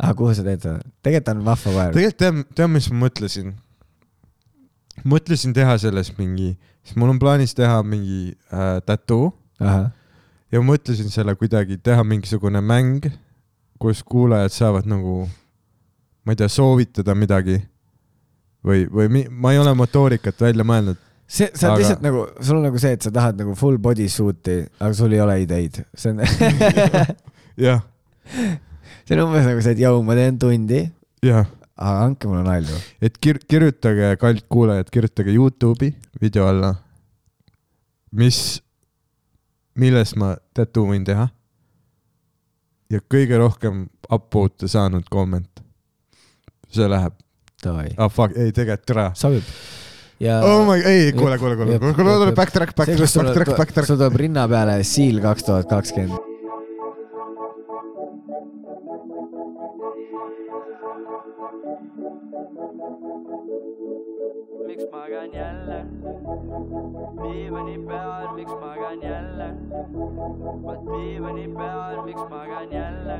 ah, kuhu sa teed seda ? tegelikult on vahva koer . tegelikult tead , tead , mis ma mõtlesin ? mõtlesin teha sellest mingi , siis mul on plaanis teha mingi äh, tattoo ja ma mõtlesin selle kuidagi teha mingisugune mäng , kus kuulajad saavad nagu , ma ei tea , soovitada midagi või , või mi, ma ei ole motoorikat välja mõelnud . see , sa Aga- oled lihtsalt nagu , sul on nagu see , et sa tahad nagu full body suit'i , aga sul ei ole ideid . see on , jah , see on umbes nagu see , et jõu , ma teen tundi , jah , aga andke mulle nalju . et kir- , kirjutage , kallid kuulajad , kirjutage Youtube'i video alla , mis , milles ma tattoo võin teha . ja kõige rohkem upvote saanud komment . see läheb , Davai , ah fuck , ei tegelikult tere . sobib . ja oh my , ei , kuule , kuule , kuule , kuule , kuule , kuule , backtrack , see , backtrack , kus sul backtrack , tuleb , backtrack . sul tuleb rinna peale Seal kaks tuhat kakskümmend . miks magan jälle ? diivani peal , miks magan jälle ? vaat diivani peal , miks magan jälle ?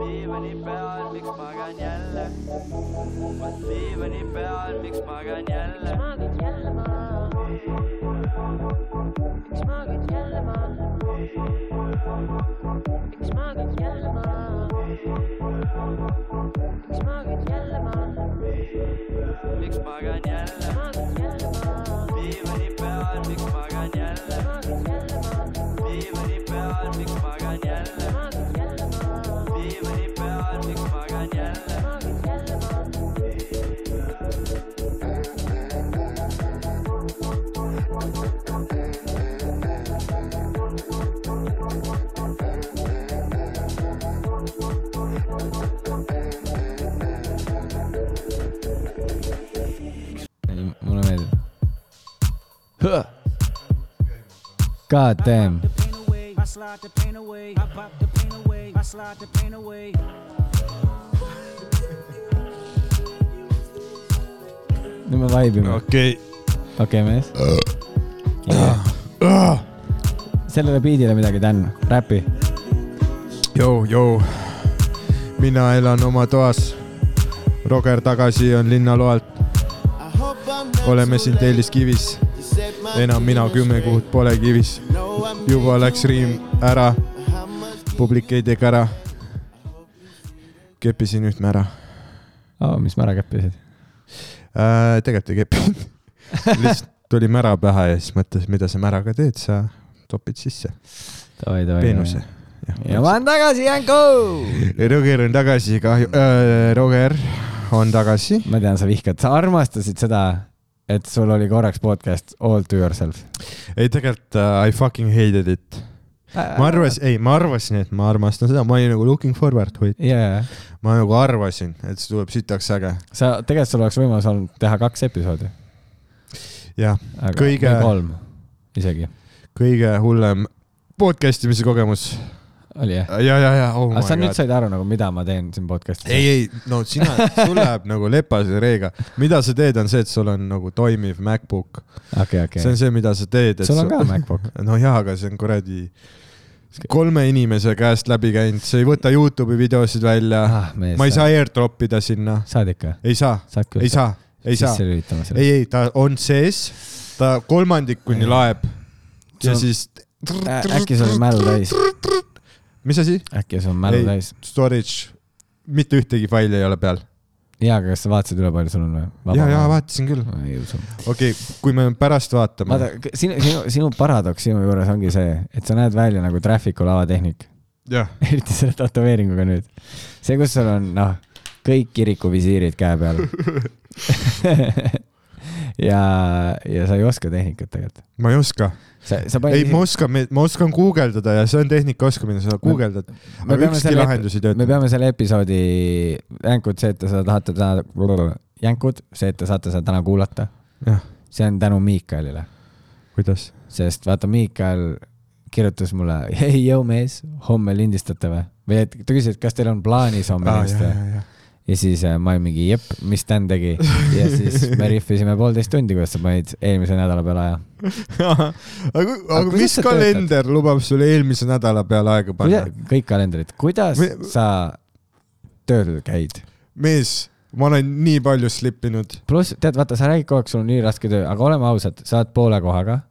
diivani peal , miks magan jälle ? vaat diivani peal , miks magan jälle ? Smaakt jelle man. Ik smaak het jelle man. Ik smaak het jelle man. Ik smaak het jelle man. miks magan Ik jälle ? smaak het jelle man. diivani peal , miks magan Ik jälle ? smaak het jelle man. diivani peal , miks magan Ik jälle ? smaak het jelle man. diivani peal , miks magan jälle ? Ik smaak het jelle man. mulle meeldib . God damn . the pain away. I slide the pain away. I pop the pain away. I slide the pain away. nüüd me vaibime . okei , okei , mees . Äh. sellele beat'ile midagi , Dan , räpi . jõu , jõu . mina elan oma toas . Roger tagasi on linnaloalt . oleme siin Telliskivis . enam mina kümme kuud pole kivis . juba läks riim ära . publik ei tee kära . kepisin üht mära oh, . mis mära käppisid ? äh, . tegelikult ei keppinud . lihtsalt tuli mära pähe ja siis mõtles , mida sa märaga teed , sa topid sisse davai , davai . peenuse . ja ma olen tagasi , Janko . Roger on tagasi , kahju äh, , Roger on tagasi . ma tean , sa vihkad , sa armastasid seda , et sul oli korraks podcast all to yourself . ei , tegelikult uh, I fucking hated it . ma . arvasin , ei , ma arvasin , et ma armastan seda , ma olin nagu looking forward to it . ja , ja , ma nagu arvasin , et see tuleb sitaks äge . sa , tegelikult sul oleks võimalus olnud teha kaks episoodi . jah , Kõige- kolm isegi , kõige hullem podcast imise kogemus . oli jah ? ja , ja , ja , oh aga sa my nüüd god . said aru nagu , mida ma teen siin podcast'is ? ei , ei , no sina , sul läheb nagu lepas ja reega . mida sa teed , on see , et sul on nagu toimiv MacBook okay. . okei , see okei . on see , mida sa teed . sul on ka MacBook ? no jaa , aga see on kuradi kolme inimese käest läbi käinud , sa ei võta Youtube'i videosid välja ah, . ah , mees . ma ei saa airdrop ida sinna , saad ikka ? ei saa , saad küll . ei saa , ei saa . sisse lülitama selle . ei , ei , ta on sees , ta kolmandikuni laeb ja Sul- siis , äkki sul on mälu täis , mis asi ? äkki sul on mälu Ei. täis . Storage , mitte ühtegi faili ei ole peal . jaa , aga kas sa vaatasid üle , palju sul on või ? ja , ja . vaatasin küll . ei usu . okei okay, , kui me pärast vaatame vaata ., sinu , sinu , sinu paradoks sinu juures ongi see , et sa näed välja nagu Traffic'u lavatehnik , jah , eriti selle tätoveeringuga nüüd . see , kus sul on , noh , kõik kirikuvisiirid käe peal . ja , ja sa ei oska tehnikat tegelikult . ma ei oska . sa , sa ei , panid ma oskan , ma oskan guugeldada ja see on tehnika oskamine , sa guugeldad . me aga peame ükski selle- lahendus ei me tööta . peame selle episoodi , jänkud , see , et te seda tahate täna , jänkud , see , et te saate seda täna kuulata , jah , see on tänu Miikalile , kuidas ? sest vaata , Miikal kirjutas mulle , ei jõu mees , homme lindistate või ? või et ta küsis , et kas teil on plaanis homme aa , ja , lindistada ja , ja . ja siis äh, ma olin mingi jep , mis Dan tegi ja siis me rihvisime poolteist tundi , kuidas sa panid eelmise nädala peale aja . aga , aga, Aga aga kuidas mis sa kalender lubab sul eelmise nädala peale aega panna ? kõik kalendrid , kuidas Või- sa tööl käid . mees , ma olen nii palju slippinud . pluss tead , vaata , sa räägid kogu aeg , sul on nii raske töö , aga oleme ausad , sa oled poole kohaga .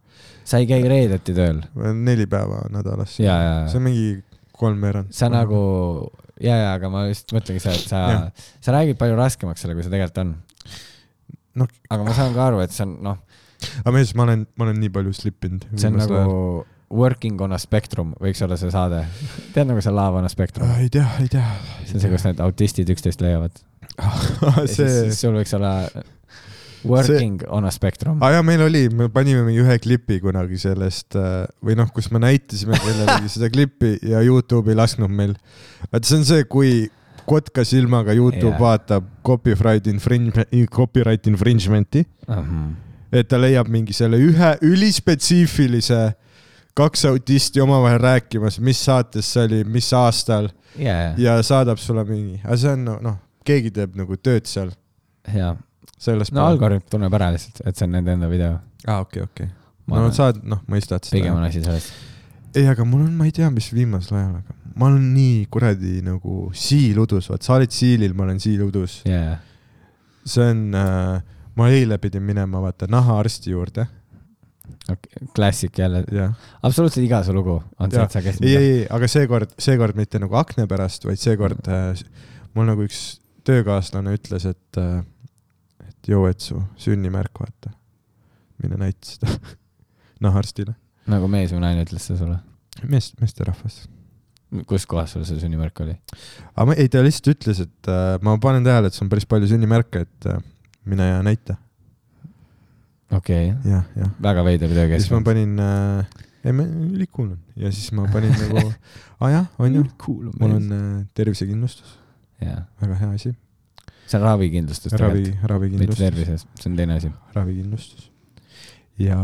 sa ei käi reedeti tööl ma olen neli päeva nädalas . ja , ja , see on mingi kolmveerand . sa nagu ja , ja , aga ma just mõtlengi seda , et Jah. sa , sa räägid palju raskemaks selle , kui see tegelikult on . Noh. aga ma saan ka aru , et see on noh , aga mees , ma olen , ma olen nii palju slippinud . see on nagu working on a spectrum võiks olla see saade . tead nagu see Love on a spectrum ? Ah, ei tea , ei tea . see on see , kus need autistid üksteist leiavad . see , sul võiks olla working Ah, see... on a spectrum . aa Ah, jaa , meil oli , me panime mingi ühe klipi kunagi sellest äh, või noh , kus me näitasime kellelegi seda klippi ja Youtube ei lasknud meil . vaata , see on see , kui kotka silmaga Youtube Jaa. yeah. vaatab copyright infringement , copyright infringement'i , Mhm. et ta leiab mingi selle ühe ülispetsiifilise kaks autisti omavahel rääkimas , mis saates see oli , mis aastal ja , ja , ja saadab sulle mingi , aga see on no- noh , keegi teeb nagu tööd seal , ja . selles . no algoritm tunneb ära lihtsalt , et see on nende enda video . aa , okei , okei . Ma no arvan- saad , noh , mõistad seda . pigem on asi selles . ei , aga mul on , ma ei tea , mis viimasel ajal , aga ma olen nii kuradi nagu siiludus , vaat sa oled siilil , ma olen siiludus . ja , ja . see on äh, , ma eile pidin minema vaata nahaarsti juurde , klassik jälle , jah . absoluutselt iga su lugu on see , Jah. et sa käisid ei ,. ei , ei , aga seekord , seekord mitte nagu akne pärast , vaid seekord äh, mul nagu üks töökaaslane ütles , et äh, , et joo , et su sünnimärk , vaata . mine näita seda nahaarstile . nagu mees või naine ütles seda sulle ? mees , meesterahvas . kus kohas sul see sünnimärk oli ? aga ma, ei , ta lihtsalt ütles , et äh, ma panen tähele , et sul on päris palju sünnimärke , et äh, mine ja näita . okei okay. , jah , jah . väga veider ja siis ma töökeskkond . panin äh, , ei ma ülikuul on ja siis ma panin nagu , aa jah , on ju , cool mul on . äh, tervisekindlustus , jaa , väga hea asi . see on ravikindlustus ravi tegelikult ,, mitte ravikindlustus , tervises , see on teine asi . ravikindlustus . ja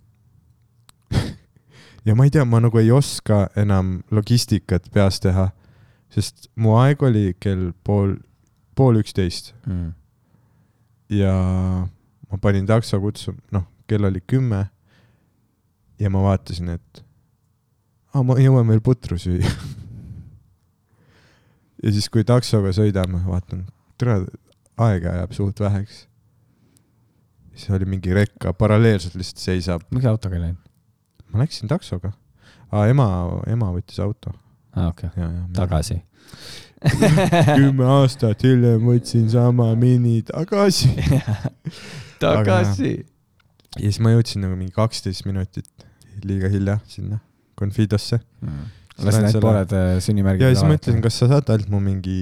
ja ma ei tea , ma nagu ei oska enam logistikat peas teha , sest mu aeg oli kell pool , pool üksteist Mm. ja ma panin takso kutsuma , noh , kell oli kümme . ja ma vaatasin , et aa , ma jõuan veel putru süüa . ja siis , kui taksoga sõidame , vaatan , tere , aega jääb suht väheks . siis oli mingi rekka , paralleelselt lihtsalt seisab . miks sa autoga ei läinud ? ma läksin taksoga . aa , ema , ema võttis auto . aa , Ah, okei okay. , ja , ja . tagasi . Mm. kümme aastat hiljem võtsin sama mini tagasi . tagasi . ja siis ma jõudsin nagu mingi kaksteist minutit liiga hilja sinna Confidosse . Mm. las need pooled äh, sünnimärgid . ja siis ma ütlesin ,. kas sa saad ainult mu mingi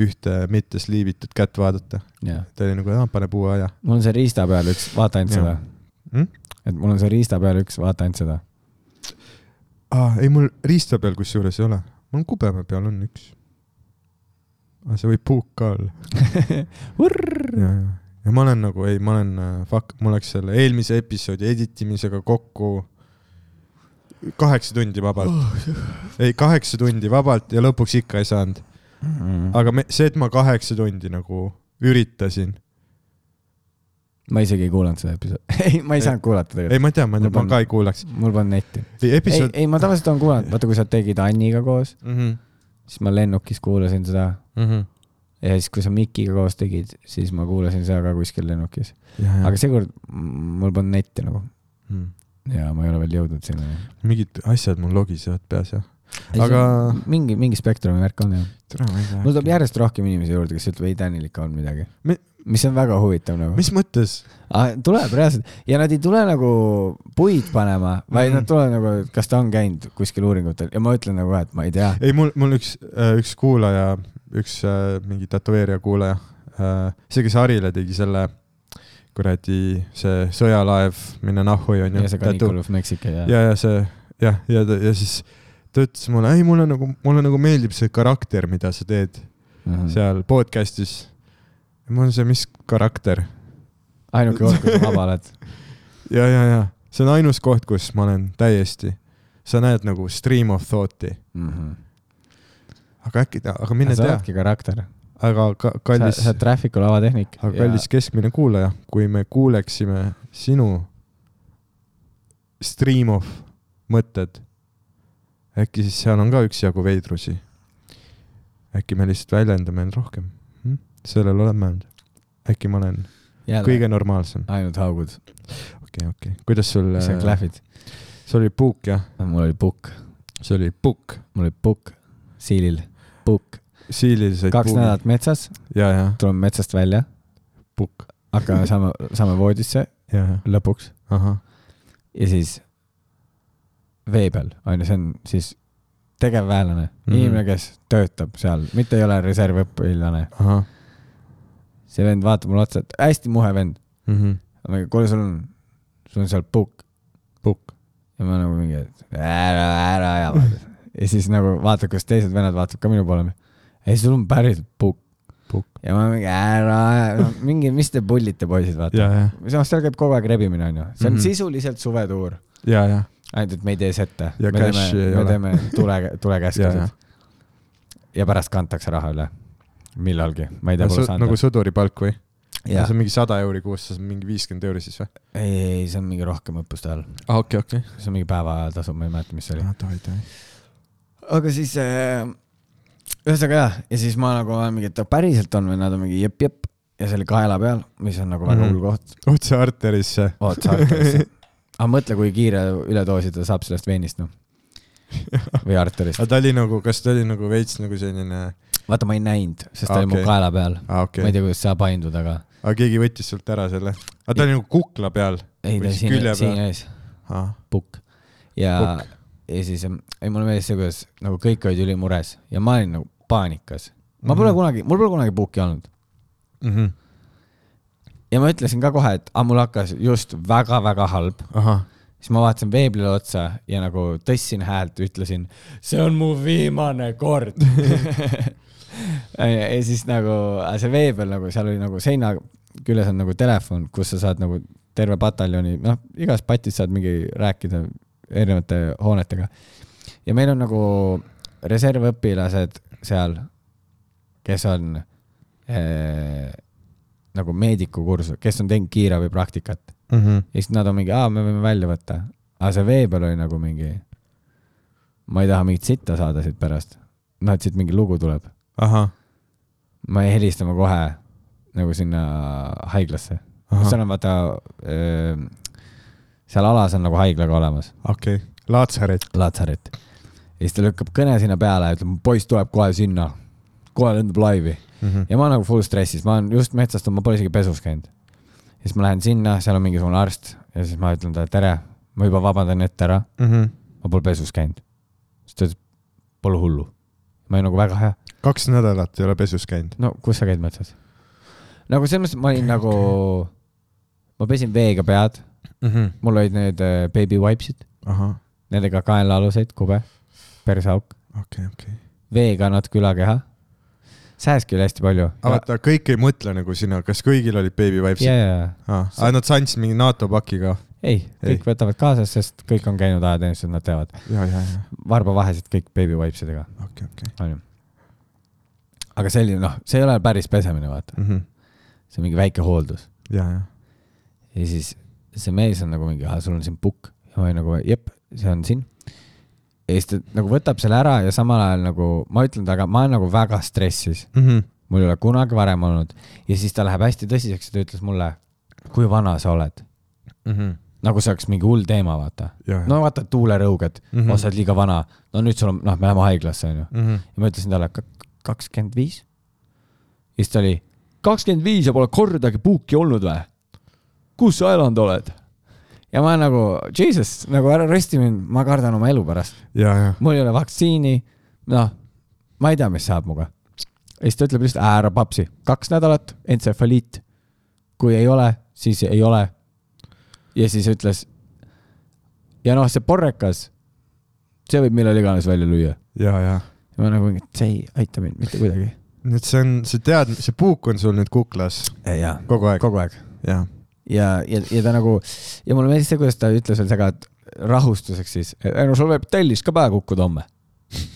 ühte mitte sliivitud kätt vaadata . jaa , ta oli nagu , pane puu aja . mul on see riista peal üks , vaata ainult Jaa. seda Mm? . et mul on see riista peal üks , vaata ainult seda . aa , ei mul riista peal kusjuures ei ole . mul kubeme peal on üks . aga see võib puuk ka olla . ja , ja , ja ma olen nagu , ei , ma olen äh, fuck , mul läks selle eelmise episoodi editimisega kokku kaheksa tundi Oh, vabalt . ei , kaheksa tundi vabalt ja lõpuks ikka ei saanud . aga me, see , et ma kaheksa tundi nagu üritasin , ma isegi ei kuulanud seda episoodi . ei , ma ei Ei. saanud kuulata ei tegelikult . ma ei tea , ma ei tea , ma Võib-olla- ka ei kuulaks . mul polnud netti . ei , ei , episood . Mhm, ei ma tavaliselt olen kuulanud , vaata kui sa tegid Anniga koos , siis ma lennukis kuulasin seda ja siis , kui sa Mikiga koos tegid , siis ma kuulasin seda ka kuskil lennukis . aga seekord mm, mul polnud netti nagu ja ma ei ole veel jõudnud sinna . Mhm. mingid asjad mul logisevad peas jah . aga . mingi , mingi spektrumi värk on jah . mul tuleb järg . järjest rohkem inimesi juurde , kes ütlevad , ei Tänil ikka on midagi Mi- . mis on väga huvitav nagu . mis mõttes ? Ah, tuleb reaalselt ja nad ei tule nagu puid panema , vaid Mhm. nad tulevad nagu , kas ta on käinud kuskil uuringutel ja ma ütlen nagu , et ma ei tea . ei , mul , mul üks , üks kuulaja , üks äh, mingi tätoveerija kuulaja , see , kes Harile tegi selle kuradi , see sõjalaev , mine nahhu , onju . ja see Caniculus Mexica ja, ja. . ja , ja see jah , ja , ja siis ta ütles mulle , ei , mulle nagu , mulle nagu meeldib see karakter , mida sa teed Mm -hmm. seal podcast'is . ma olen see , mis karakter ainuke koht , kus sa vaba oled . ja , ja , ja see on ainus koht , kus ma olen täiesti , sa näed nagu stream of thought'i , aga äkki , aga mine Mhm. sa tea , oledki karakter . aga ka, sa , kallis sa , oled Traffic'u lavatehnik . aga kallis . keskmine kuulaja , kui me kuuleksime sinu stream of mõtted , äkki siis seal on ka üksjagu veidrusi . äkki me lihtsalt väljendame end rohkem hm? . sellel olen mõelnud . äkki ma olen kõige jälle , normaalsem . ainult haugud , okei , okei . kuidas sul , mis on sul klähvid . oli puuk jah ? mul oli pukk , see oli puuk . mul oli pukk , siilil pukk , siilil said kaks puugi. nädalat metsas , ja , ja , tuleme metsast välja , pukk . hakkame saama , saame voodisse ja , ja , lõpuks ahah , ja siis vee peal , on ju , see on siis tegevväelane mm , Mhm. -hmm. inimene , kes töötab seal , mitte ei ole reservõpilane . ahah see vend vaatab mulle otsa , et hästi muhe vend . mm -hmm. . ma mingi , kuule , sul on , sul on seal pukk . pukk . ja ma nagu mingi , et ära , ära aja . ja siis nagu vaatab , kuidas teised vennad vaatavad ka minu poole . ei , sul on päriselt pukk . pukk . ja ma mingi , ära aja , mingi , mis te pullite , poisid , vaata . ja , ja , noh , seal käib kogu aeg rebimine , on ju . see on mm Mhm. -hmm. sisuliselt suvetuur ja , ja , ainult , et me ei tee sette . Ja me cash'i teeme , ei me ole. teeme tule , Ja, ja. tulekäskused . ja pärast kantakse raha üle . millalgi , ma ei tea , pole saanud nagu . nagu sõduripalk või ? jaa see , on mingi sada euri kuus , see on mingi viiskümmend euri siis või ? ei , ei , see on mingi rohkem õppuste ajal . aa , okei , okei . see on mingi päevatasu , ma ei mäleta , mis see oli . tohi , tohi . aga siis äh, , ühesõnaga jah , ja siis ma nagu olen mingi , et päriselt on või nad on mingi jep-jep ja see oli kaela peal , mis on nagu väga Mhm. hull mm -hmm. koht . otse arterisse . oot , sa arterisse . aga mõtle , kui kiire üledoosi ta saab sellest veinist , noh . või arterist aga . ta oli nagu , kas ta oli nagu veits nagu selline , vaata , ma ei näinud , sest ta okay. oli mu Okei. kaela peal aa , okay. . ma okei ei , tea , kuidas saab ainduda , aga aga keegi võttis sult ära selle . aga ta oli nagu kukla peal . ei , ta Või oli siis siin külje , siin peal. ees , aa , pukk . ja , Pukk. ja siis , ei mulle meeldis see , kuidas nagu kõik olid ülimures ja ma olin nagu paanikas . ma pole Mhm. mm -hmm. kunagi , mul pole kunagi pukki olnud ja ma ütlesin ka kohe , et aga mul hakkas just väga-väga halb , ahah , siis ma vaatasin veebrile otsa ja nagu tõstsin häält , ütlesin , see on mu viimane kord . ja siis nagu aga see vee peal nagu seal oli nagu seina küljes on nagu telefon , kus sa saad nagu terve pataljoni , noh , igas patis saad mingi rääkida erinevate hoonetega . ja meil on nagu reservõpilased seal , kes on eh, nagu meedikukursus , kes on teinud kiirabipraktikat Mhm. ja siis nad on mingi , aa , me võime välja võtta . aga see vee peal oli nagu mingi , ma ei taha mingit sitta saada siit pärast . noh , et siit mingi lugu tuleb . ahah , ma jäin helistama kohe nagu sinna haiglasse . seal ahah , on vaata , seal alas on nagu haigla ka olemas , okei . Laatsaret . Laatsaret . ja siis ta lükkab kõne sinna peale , ütleb , poiss tuleb kohe sinna , kohe lendab laivi . Mhm. ja ma olen nagu full stressis , ma olen just metsast , ma pole isegi pesus käinud . ja siis ma lähen sinna , seal on mingisugune arst ja siis ma ütlen talle tere , ma juba vabandan ette ära , Mhm. ma pole pesus käinud . siis ta ütles , pole hullu . ma olin nagu väga hea , kaks nädalat ei ole pesus käinud . no kus sa käid metsas ? nagu selles mõttes ma olin nagu , ma pesin veega pead , mul olid need äh, baby wipes'id , ahah , nendega kaelaaluseid , kube , persauk , okei , okei . veega natuke ülakeha . sääski oli hästi palju . aga vaata , kõik ei mõtle nagu sina , kas kõigil olid baby vibes ? ja , ja , ja aa , aga nad andsid mingi NATO paki ka ? ei , kõik ei. võtavad kaasa , sest kõik on käinud ajateenistused , nad teavad . ja , ja , ja , varbavahesid kõik baby wipes idega , okei , okei . onju . aga see oli noh , see ei ole päris pesemine , vaata , see on mingi väike hooldus . ja , ja , ja siis see mees on nagu mingi , ah , sul on siin pukk . ja ma olin nagu , jep , see on siin . ja siis ta nagu võtab selle ära ja samal ajal nagu , ma ütlen talle , ma olen nagu väga stressis . Mhm. mul ei ole kunagi varem olnud . ja siis ta läheb hästi tõsiseks ja ta ütles mulle , kui vana sa oled . nagu see oleks mingi hull teema , vaata . ja , ja , no vaata , tuulerõuged mm , Mhm. -hmm. oh , sa oled liiga vana . no nüüd sul on , noh , me läheme haiglasse , onju . ja ma ütlesin talle "Kak- kakskümmend viis . ja siis ta oli , kakskümmend viis ja pole kordagi puuki olnud või ? kus sa elanud oled ? ja ma nagu , jesus , nagu ära rösti mind , ma kardan oma elu pärast . ja , ja , mul ei ole vaktsiini , noh , ma ei tea , mis saab muga . ja siis ta ütleb lihtsalt , ära papsi , kaks nädalat , entsefaliit . kui ei ole , siis ei ole . ja siis ütles . ja noh , see porrekas , see võib millal iganes välja lüüa . ja , ja . ja ma nagu , see ei aita mind mitte kuidagi . nii et see on , sa tead , see puuk on sul nüüd kuklas jaa , kogu aeg . kogu aeg . jah , ja , ja , ja ta nagu , ja mulle meeldis see , kuidas ta ütles veel seda , et rahustuseks siis , ei no sul võib tellis ka pähe kukkuda homme .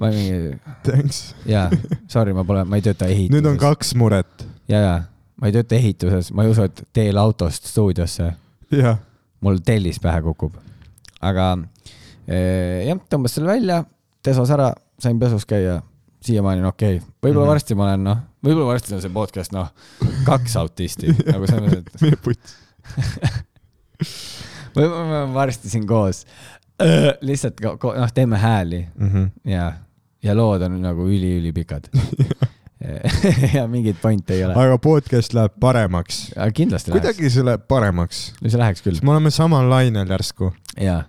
ma mingi , thanks . jaa , sorry , ma pole , ma ei tööta ehituses . nüüd on . kaks muret . jaa , jaa , ma ei tööta ehituses , ma ei usu , et teel autost stuudiosse jah , mul tellis pähe kukub . aga eh, jah , tõmbas selle välja , desos ära , sain pesus käia , siiamaani on okei okay. . võib-olla Mhm. mm. varsti ma olen noh , võib-olla varsti on see podcast noh , kaks autisti nagu selles mõttes , meie putsi . et võib-olla me oleme varsti siin koos . lihtsalt ko- ko- noh , teeme hääli ja , ja lood on nagu üliülipikad . ja mingit pointi ei ole . aga podcast läheb paremaks . aga kindlasti läheks , kuidagi see läheb paremaks . see läheks küll me oleme samal lainel järsku . ja ,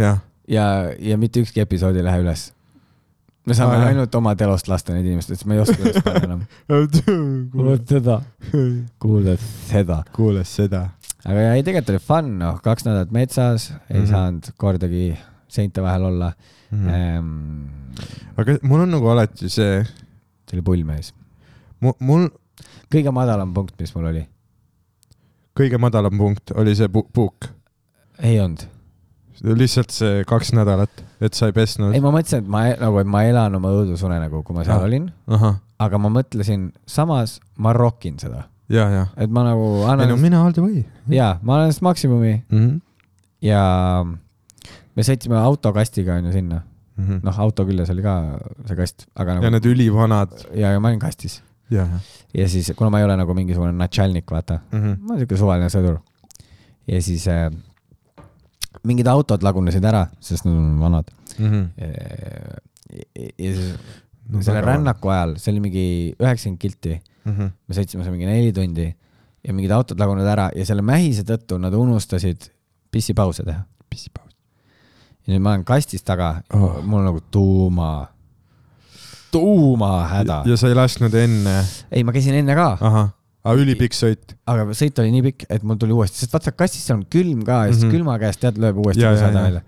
jah , ja , ja mitte ükski episood ei lähe üles me saame Aa, jah. ainult oma telost lasta neid inimesi , sest ma ei oska üles panna enam . kuulad seda , kuulad seda . kuulas seda . aga ja ei , tegelikult oli fun , noh , kaks nädalat metsas mm , -hmm. Mhm. ei saanud kordagi seinte vahel olla mm . aga -hmm. Ehm, mul on nagu alati see , tuli pull mees . mul kõige madalam punkt , mis mul oli , kõige madalam punkt oli see pu- puuk . ei olnud . lihtsalt see kaks nädalat , et sa ei pesnud ei ,. ma mõtlesin , et ma e- nagu , et ma elan oma õudusunenägu , kui ma seal Ah. ah. olin , ahah , aga ma mõtlesin , samas ma rokin seda , ja , ja . et ma nagu ei no annan , mina all the way . jaa , ma annan ennast maksimumi ja me sõitsime autokastiga onju sinna , noh , auto küljes oli ka see kast , aga Mhm. ja nagu need ülivanad ja , ja ma olin kastis ja , ja . ja siis , kuna ma ei ole nagu mingisugune natšalnik , vaata , Mhm. ma olen siuke suvaline sõdur . ja siis äh, mingid autod lagunesid ära , sest nad on vanad . Mhm. ja ja siis no, selle rännaku ajal , see oli mingi üheksakümmend kilti , Mhm. me sõitsime seal mingi neli tundi ja mingid autod lagunesid ära ja selle mähise tõttu nad unustasid pissipause teha . pissipaus . ja nüüd ma olen kastis taga Oh. oh. , mul on nagu tuuma , tuumahäda . ja sa ei lasknud enne , ei , ma käisin enne ka ahah , aga ülipikk sõit . aga sõit oli nii pikk , et mul tuli uuesti , sest vaata kastis on külm ka ja siis mm Mhm. -hmm. külma käest tead lööb uuesti Ja, ja, pusada ja. välja .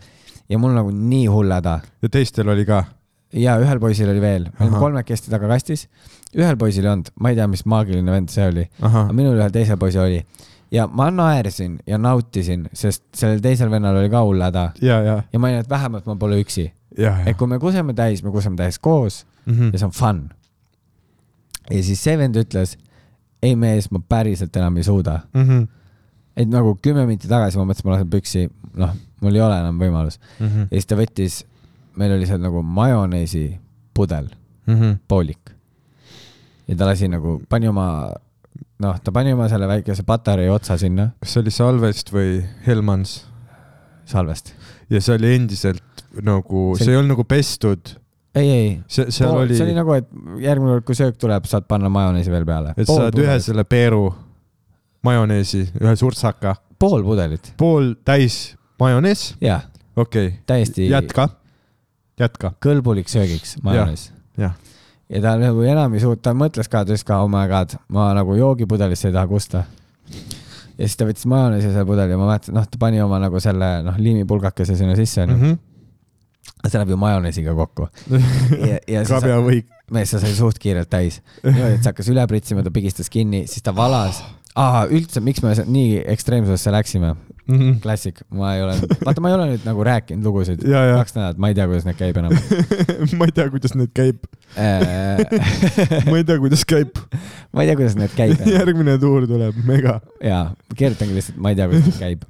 ja mul nagu nii hull häda ja teistel oli ka . ja ühel poisil oli veel , me olime Ahah. kolmekesti taga kastis . ühel poisil ei olnud , ma ei tea , mis maagiline vend see oli , ahah aga , minul ühel teisel poisil oli ja ma naersin ja nautisin , sest sellel teisel vennal oli ka hull häda ja , ja , ja ma olin , et vähemalt ma pole üksi , ja , et kui me kuseme täis , me kuseme täis koos ja ja . see on fun . ja siis see vend ütles , ei mees , ma päriselt enam ei suuda Mhm. et nagu kümme minutit tagasi ma mõtlesin , ma lasen püksi , noh , mul ei ole enam võimalus . Mhm. ja siis ta võttis , meil oli seal nagu majoneesi pudel , Mhm. poolik . ja ta lasi nagu , pani oma , noh , ta pani oma selle väikese patarei otsa sinna kas see oli Salvest või Helmans salvest . ja see oli endiselt nagu , See- see ei olnud nagu pestud , ei , ei , see , seal pool, oli, see oli nagu , et järgmine kord , kui söök tuleb , saad panna majoneesi veel peale . et sa saad ühe . selle peeru majoneesi , ühe surtsaka , pool pudelit , pool täis majonees , jaa , okei okay. , täiesti jätka , jätka , kõlbulik söögiks majonees . jah. ja ta nagu enam ei suutnud , ta mõtles ka , ta ütles ka , oh my god , ma nagu joogipudelisse ei taha kusta . ja siis ta võttis majoneesi selle pudeli ja ma mäletan , noh , ta pani oma nagu selle , noh , liimipulgakese sinna sisse , onju . Mhm. see läheb ju majoneesiga kokku . ja , ja siis sa, krabjavõik , mees , sa sai suht kiirelt täis . niimoodi , et see hakkas üle pritsima , ta pigistas kinni , siis ta valas . aa , üldse , miks me se- nii ekstreemsusesse läksime ? Mhm. klassik , ma ei ole , vaata , ma ei ole nüüd nagu rääkinud lugusid ja , ja kaks nädalat , ma ei tea , kuidas need käib enam . ma ei tea , kuidas need käib , Äh. ma ei tea , kuidas käib , ma ei tea , kuidas need käib . järgmine tuur tuleb , mega . jaa , kirjutangi lihtsalt , ma ei tea , kuidas see käib .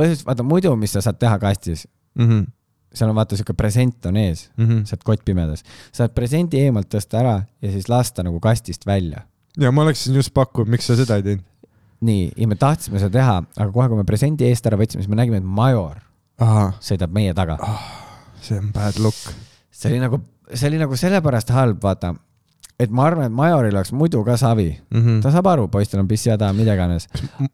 põhjus , vaata muidu , mis sa saad teha kastis , Mhm. seal on vaata sihuke present on ees , Mhm. saad kottpimedas , saad presendi eemalt tõsta ära ja siis lasta nagu kastist välja . ja ma oleksin just pakkunud , miks sa seda ei teinud nii , ja me tahtsime seda teha , aga kohe , kui me presendi eest ära võtsime , siis me nägime , et major ahah , sõidab meie taga . see on bad look . see oli nagu , see oli nagu sellepärast halb , vaata , et ma arvan , et majoril oleks muidu ka savi . Mhm. ta saab aru , poistel on pissihäda , mida iganes .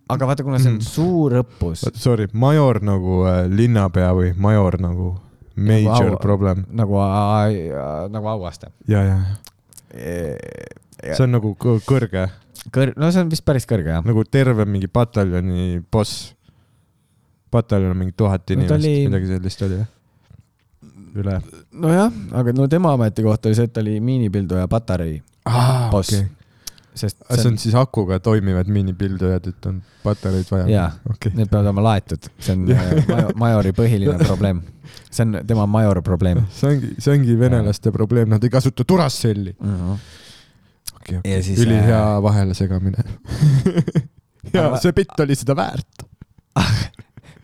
aga vaata , kuna see on suur õppus , Sorry , major nagu äh, linnapea või major nagu major au- problem nagu , nagu auaste . ja , ja , ja see on nagu kõ- kõrge , kõr- , no see on vist päris kõrge jah . nagu terve mingi pataljoni boss . pataljon on mingi No tuhat ta inimest no, , oli- oli... midagi sellist oli jah ? üle . nojah , aga no tema ametikoht oli see , et ta oli miinipilduja patarei aa boss okay. . sest Ah, see on siis akuga toimivad miinipildujad , et on patareid vaja ? jaa , okei need peavad olema laetud , see on Jah. äh, majo- majori põhiline probleem . see on tema major probleem see ongi , see ongi venelaste probleem , nad ei kasuta turasselli . mm . -hmm. okei , Ja äh, okei , siis, ülihea vahelesegamine . ja Aga- see bitt oli seda väärt . eh,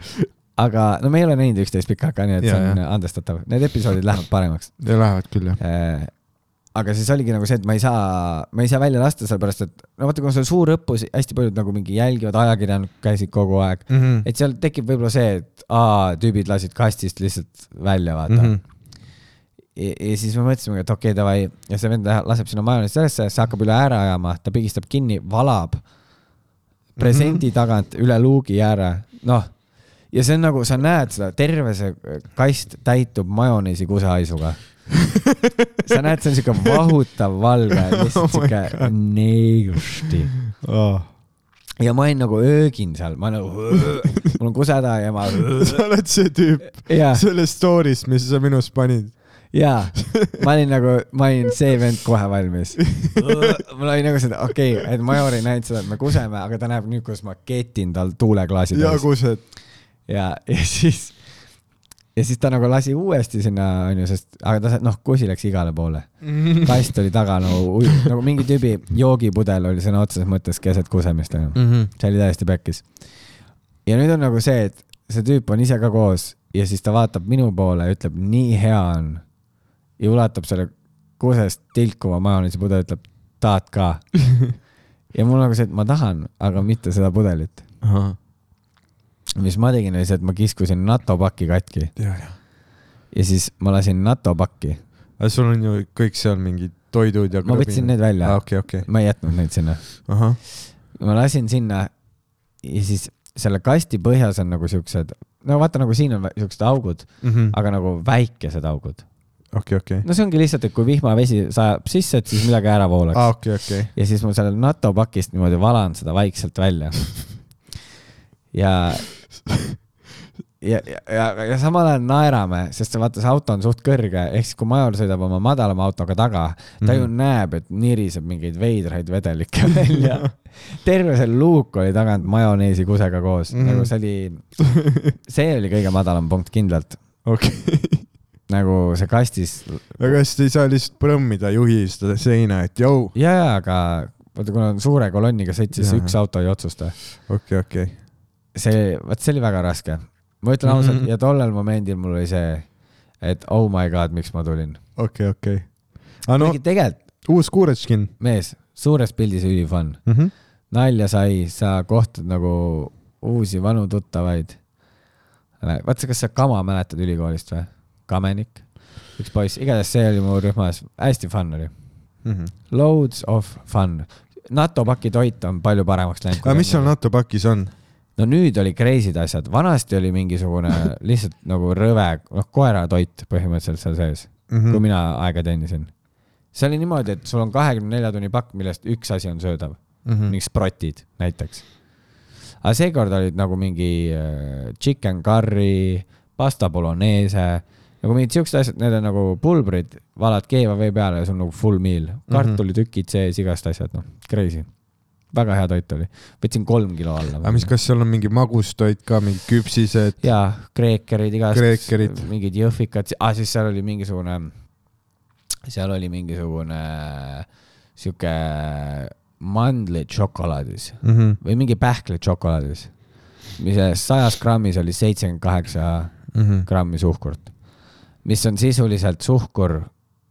aga no me ei ole näinud üksteist pikka aega , nii et see Jaa, on jah. andestatav , need episoodid lähevad paremaks . ja lähevad küll jah . Äh, aga siis oligi nagu see , et ma ei saa , ma ei saa välja lasta , sellepärast et no vaata , kui on sul suur õppus , hästi paljud nagu mingi jälgivad ajakirjanikud käisid kogu aeg mm , Mhm. -hmm. et seal tekib võib-olla see , et aa , tüübid lasid kastist lihtsalt välja , vaata Mhm. mm . -hmm ja, ja siis me mõtlesime , et okei okay, , davai ja see vend läheb- laseb sinna majoneesi sellesse , see hakkab üle ääre ajama , ta pigistab kinni , valab presendi tagant üle luugi ääre , noh . ja see on nagu , sa näed seda , terve see kast täitub majoneesi kusehaisuga . sa näed , see on siuke vahutav valge , Oh my Oh. lihtsalt siuke neiusti . ja ma olin nagu öögin seal , ma nagu , mul on kuseda ja ma sa oled see tüüp ja , selles story's , mis sa minust panid . ja ma olin nagu , ma olin see vend kohe valmis . mul oli nagu seda , okei okay, , et Major ei näinud seda , et me kuseme , aga ta näeb nüüd , kuidas ma ketin tal tuuleklaasi ja kused . ja , ja siis , ja siis ta nagu lasi uuesti sinna , onju , sest , aga ta , noh , kusi läks igale poole . kast oli taga nagu , nagu mingi tüübi joogipudel oli sõna otseses mõttes keset kusemist , onju . see oli täiesti pekkis . ja nüüd on nagu see , et see tüüp on ise ka koos ja siis ta vaatab minu poole ja ütleb , nii hea on . ja ulatab selle kusest tilkuva majoneesipudeli , ütleb , tahad ka ? ja mul nagu see , et ma tahan , aga mitte seda pudelit mis ma tegin , oli see , et ma kiskusin NATO paki katki ja , ja . ja siis ma lasin NATO pakki . aga sul on ju kõik seal mingid toidud ja . ma võtsin need välja ah, . okei , okei . ma ei jätnud neid sinna . ahah , ma lasin sinna ja siis selle kasti põhjas on nagu siuksed , no vaata , nagu siin on vä- siuksed augud , aga nagu väikesed augud . okei , okei . no see ongi lihtsalt , et kui vihmavesi sajab sisse , et siis midagi ära voolaks . aa , Ah, okei , okei . ja siis ma sellel NATO pakist niimoodi valan seda vaikselt välja . ja , ja , ja, ja samal ajal naerame , sest see vaata , see auto on suht kõrge , ehk siis kui Major sõidab oma madalama autoga taga , ta mm -hmm. ju Mhm. näeb , et niriseb mingeid veidraid vedelikke välja . terve see luuk oli tagant majoneesi kusega koos mm , Mhm. -hmm. nagu see oli , see oli kõige madalam punkt kindlalt , okei . nagu see kastis aga kas te ei saa lihtsalt põmmida juhi seda seina , et jõu ? ja , ja , aga vaata , kuna on suure kolonniga sõit , siis Jaa. üks auto ei otsusta okei , okei . see , vot see oli väga raske . ma ütlen ausalt mm Mhm. -hmm. ja tollel momendil mul oli see , et oh my god , miks ma tulin . okei , okei . aga no kuigi tegelikult , uus Kuretškin . Mhm. mees , suures pildis ülifun , nalja sai , sa kohtad nagu uusi vanu tuttavaid . vaata , kas sa Kama mäletad ülikoolist või ? Kamenik , üks poiss , igatahes see oli mu rühmas , hästi fun oli . Mhm. Loads of fun . NATO paki toit on palju paremaks läinud . aga Ah, mis seal NATO pakis on ? no nüüd oli crazy'd asjad , vanasti oli mingisugune lihtsalt nagu rõve , noh , koeratoit põhimõtteliselt seal sees mm , Mhm. -hmm. kui mina aega teenisin . see oli niimoodi , et sul on kahekümne nelja tunni pakk , millest üks asi on söödav Mhm. mm -hmm. , mingi sprotid näiteks . aga seekord olid nagu mingi äh, chicken curry , pasta bolognese , nagu mingid siuksed asjad , need on nagu pulbrid , valad keeva vee peale ja sul on nagu full meal , Mhm. kartulitükid sees , igast asjad , noh , crazy väga hea toit oli , võtsin kolm kilo alla . aga Ah, mis , kas seal on mingi magustoit ka , mingid küpsised ? jaa , kreekerid Kreekerid. igast , mingid jõhvikad , aa siis seal oli mingisugune , seal oli mingisugune sihuke mandlid šokolaadis Mhm. või mingi pähklid šokolaadis , mis sajas grammis oli seitsekümmend kaheksa Mhm. grammi suhkurt , mis on sisuliselt suhkur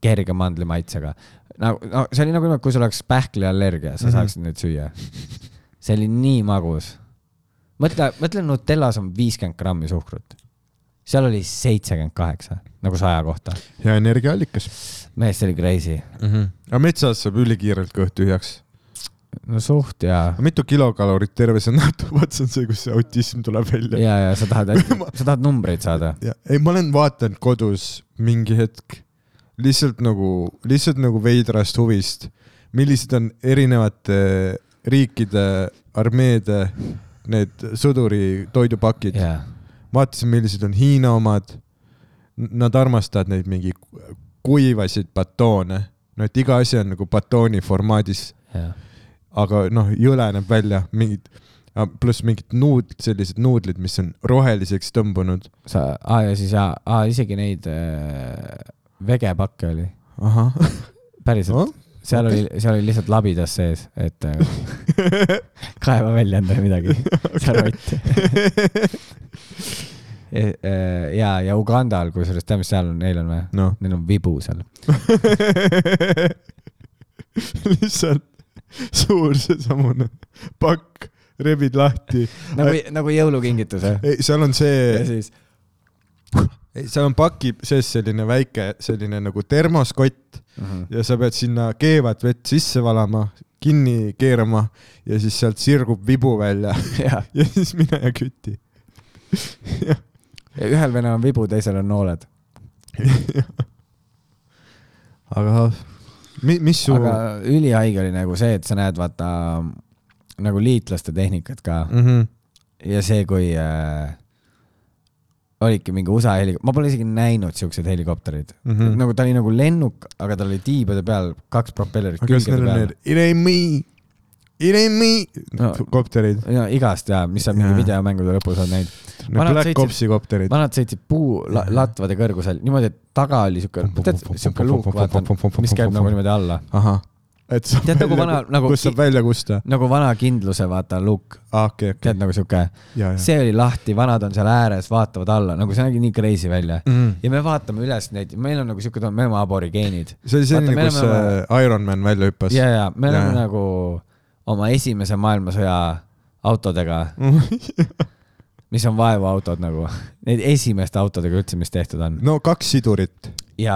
kerge mandlimaitsega . nagu , no see oli nagu , kui sul oleks pähkliallergia , sa Mhm. saaksid neid süüa . see oli nii magus . mõtle , mõtle Nutellas on viiskümmend grammi suhkrut . seal oli seitsekümmend kaheksa , nagu saja kohta . ja energiaallikas . mees , see oli crazy . aga metsas saab ülikiirelt kõht tühjaks . no suht ja , mitu kilokalorit terve see NATO , vaat see on see , kus see autism tuleb välja . ja , ja sa tahad , sa tahad numbreid saada . ja ei , ma olen vaadanud kodus mingi hetk lihtsalt nagu , lihtsalt nagu veidrast huvist , millised on erinevate riikide armeede need sõduri toidupakid . jaa , vaatasin , millised on Hiina omad . Nad armastavad neid mingi kuivasid batoone , no et iga asi on nagu batooni formaadis , jaa . aga noh , jõle näeb välja , mingid , pluss mingid nuud , sellised nuudlid , mis on roheliseks tõmbunud . sa , aa ja siis jaa , aa isegi neid äh, vegepakke oli , ahah , päriselt . seal oli , seal oli lihtsalt labidas sees , et äh, kaeva välja endale midagi , sa rott . ja , e, ja Ugandal , kusjuures tead , mis seal on , neil on või ? noh . Neil on vibu seal . lihtsalt suur seesamune pakk , rebid lahti . nagu , nagu jõulukingitus või ? ei , seal on ja see , siis , seal on paki sees selline väike , selline nagu termoskott ja sa pead sinna keevat vett sisse valama , kinni keerama ja siis sealt sirgub vibu välja ja , ja siis mine ja küti . ja ühel venel on vibu , teisel on nooled . aga mi, mis su aga ülihaige oli nagu see , et sa näed , vaata nagu liitlaste tehnikat ka mm -hmm. ja see , kui äh, olidki mingi USA helik- , ma pole isegi näinud siukseid helikoptereid mm . Mhm. -hmm. nagu ta oli nagu lennuk , aga tal oli tiibade peal kaks propellerit aga kas külgede neil peal on need . It ain't me , it ain't me No. kopterid ? ja igast ja , mis sa mingi Jaa. videomängude lõpus oled näinud . Need Vanad Black sõitsid- Opsi kopterid . vanad sõitsid puu la- latvade kõrgusel niimoodi , et taga oli siuke , tead siuke luuk , vaata , mis käib nagu niimoodi alla . ahah . et saab Tead, nagu vana- nagu kus saab ki- välja kusta . nagu vana kindluse , vaata , luuk , aa , okei , okei . tead nagu siuke , ja , ja . see oli lahti , vanad on seal ääres , vaatavad alla , nagu see nägi nii crazy välja Mm. ja me vaatame üles neid , meil on nagu siuke , me oleme aborigeenid . see oli selline , Vaata, me kus oleme- äh, Iron Man välja hüppas . ja , ja me oleme Jaa. nagu oma esimese maailmasõja autodega , mis on vaevaautod nagu , need esimeste autodega üldse , mis tehtud on . no kaks sidurit . ja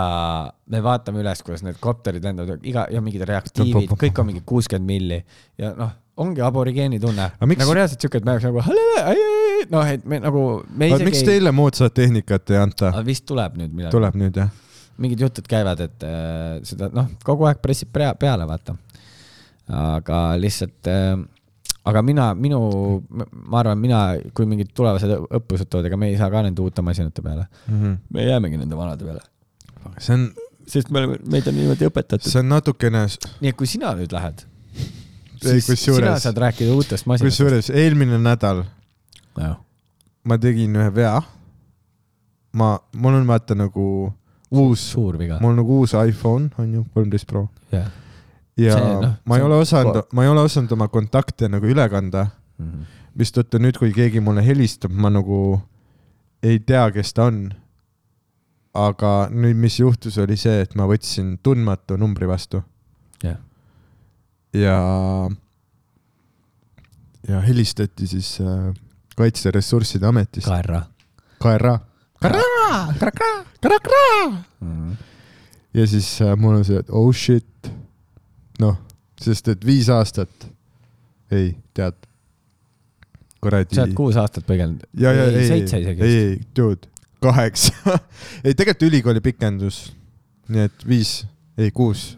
me vaatame üles , kuidas need kopterid lendavad , iga ja mingid reaktiivid , kõik on mingi kuuskümmend milli ja noh , ongi aborigeeni tunne . Aga miks- nagu reaalselt siuke , et me oleks nagu , noh , et me nagu , me aga isegi miks teile moodsat tehnikat ei anta ? aga vist tuleb nüüd midagi , tuleb nüüd jah ? mingid jutud käivad , et äh, seda noh , kogu aeg pressib pea peale , vaata . aga lihtsalt äh, , aga mina , minu , ma arvan , mina , kui mingid tulevased õpp- õppused tulevad , ega me ei saa ka nende uute masinate peale , me jäämegi nende vanade peale , see on , sest me oleme , meid on niimoodi õpetatud . see on natukene , nii et kui sina nüüd lähed , Ei, siis kusjuures- sina saad rääkida uutest masinatest . kusjuures eelmine nädal ma tegin ühe vea . ma , mul on vaata nagu uus , suur viga . mul on nagu uus iPhone on ju , kolmteist Pro . jah . ja See, noh, ma see ei ole on- osanud , ma ei ole osanud oma kontakte nagu üle kanda , Mhm. mistõttu nüüd , kui keegi mulle helistab , ma nagu ei tea , kes ta on . aga nüüd , mis juhtus , oli see , et ma võtsin tundmatu numbri vastu jah , ja , ja helistati siis äh, Kaitseressursside Ametist , kaera . KRA . Mhm. ja siis äh, mul on see , et oh shit , noh , sest et viis aastat , ei tead , kuradi . sa oled kuus aastat põgenenud . ja , ja ei , ei , seitse ei , isegi . ei , dude , kaheksa . ei , tegelikult ülikooli pikendus , nii et viis , ei kuus ,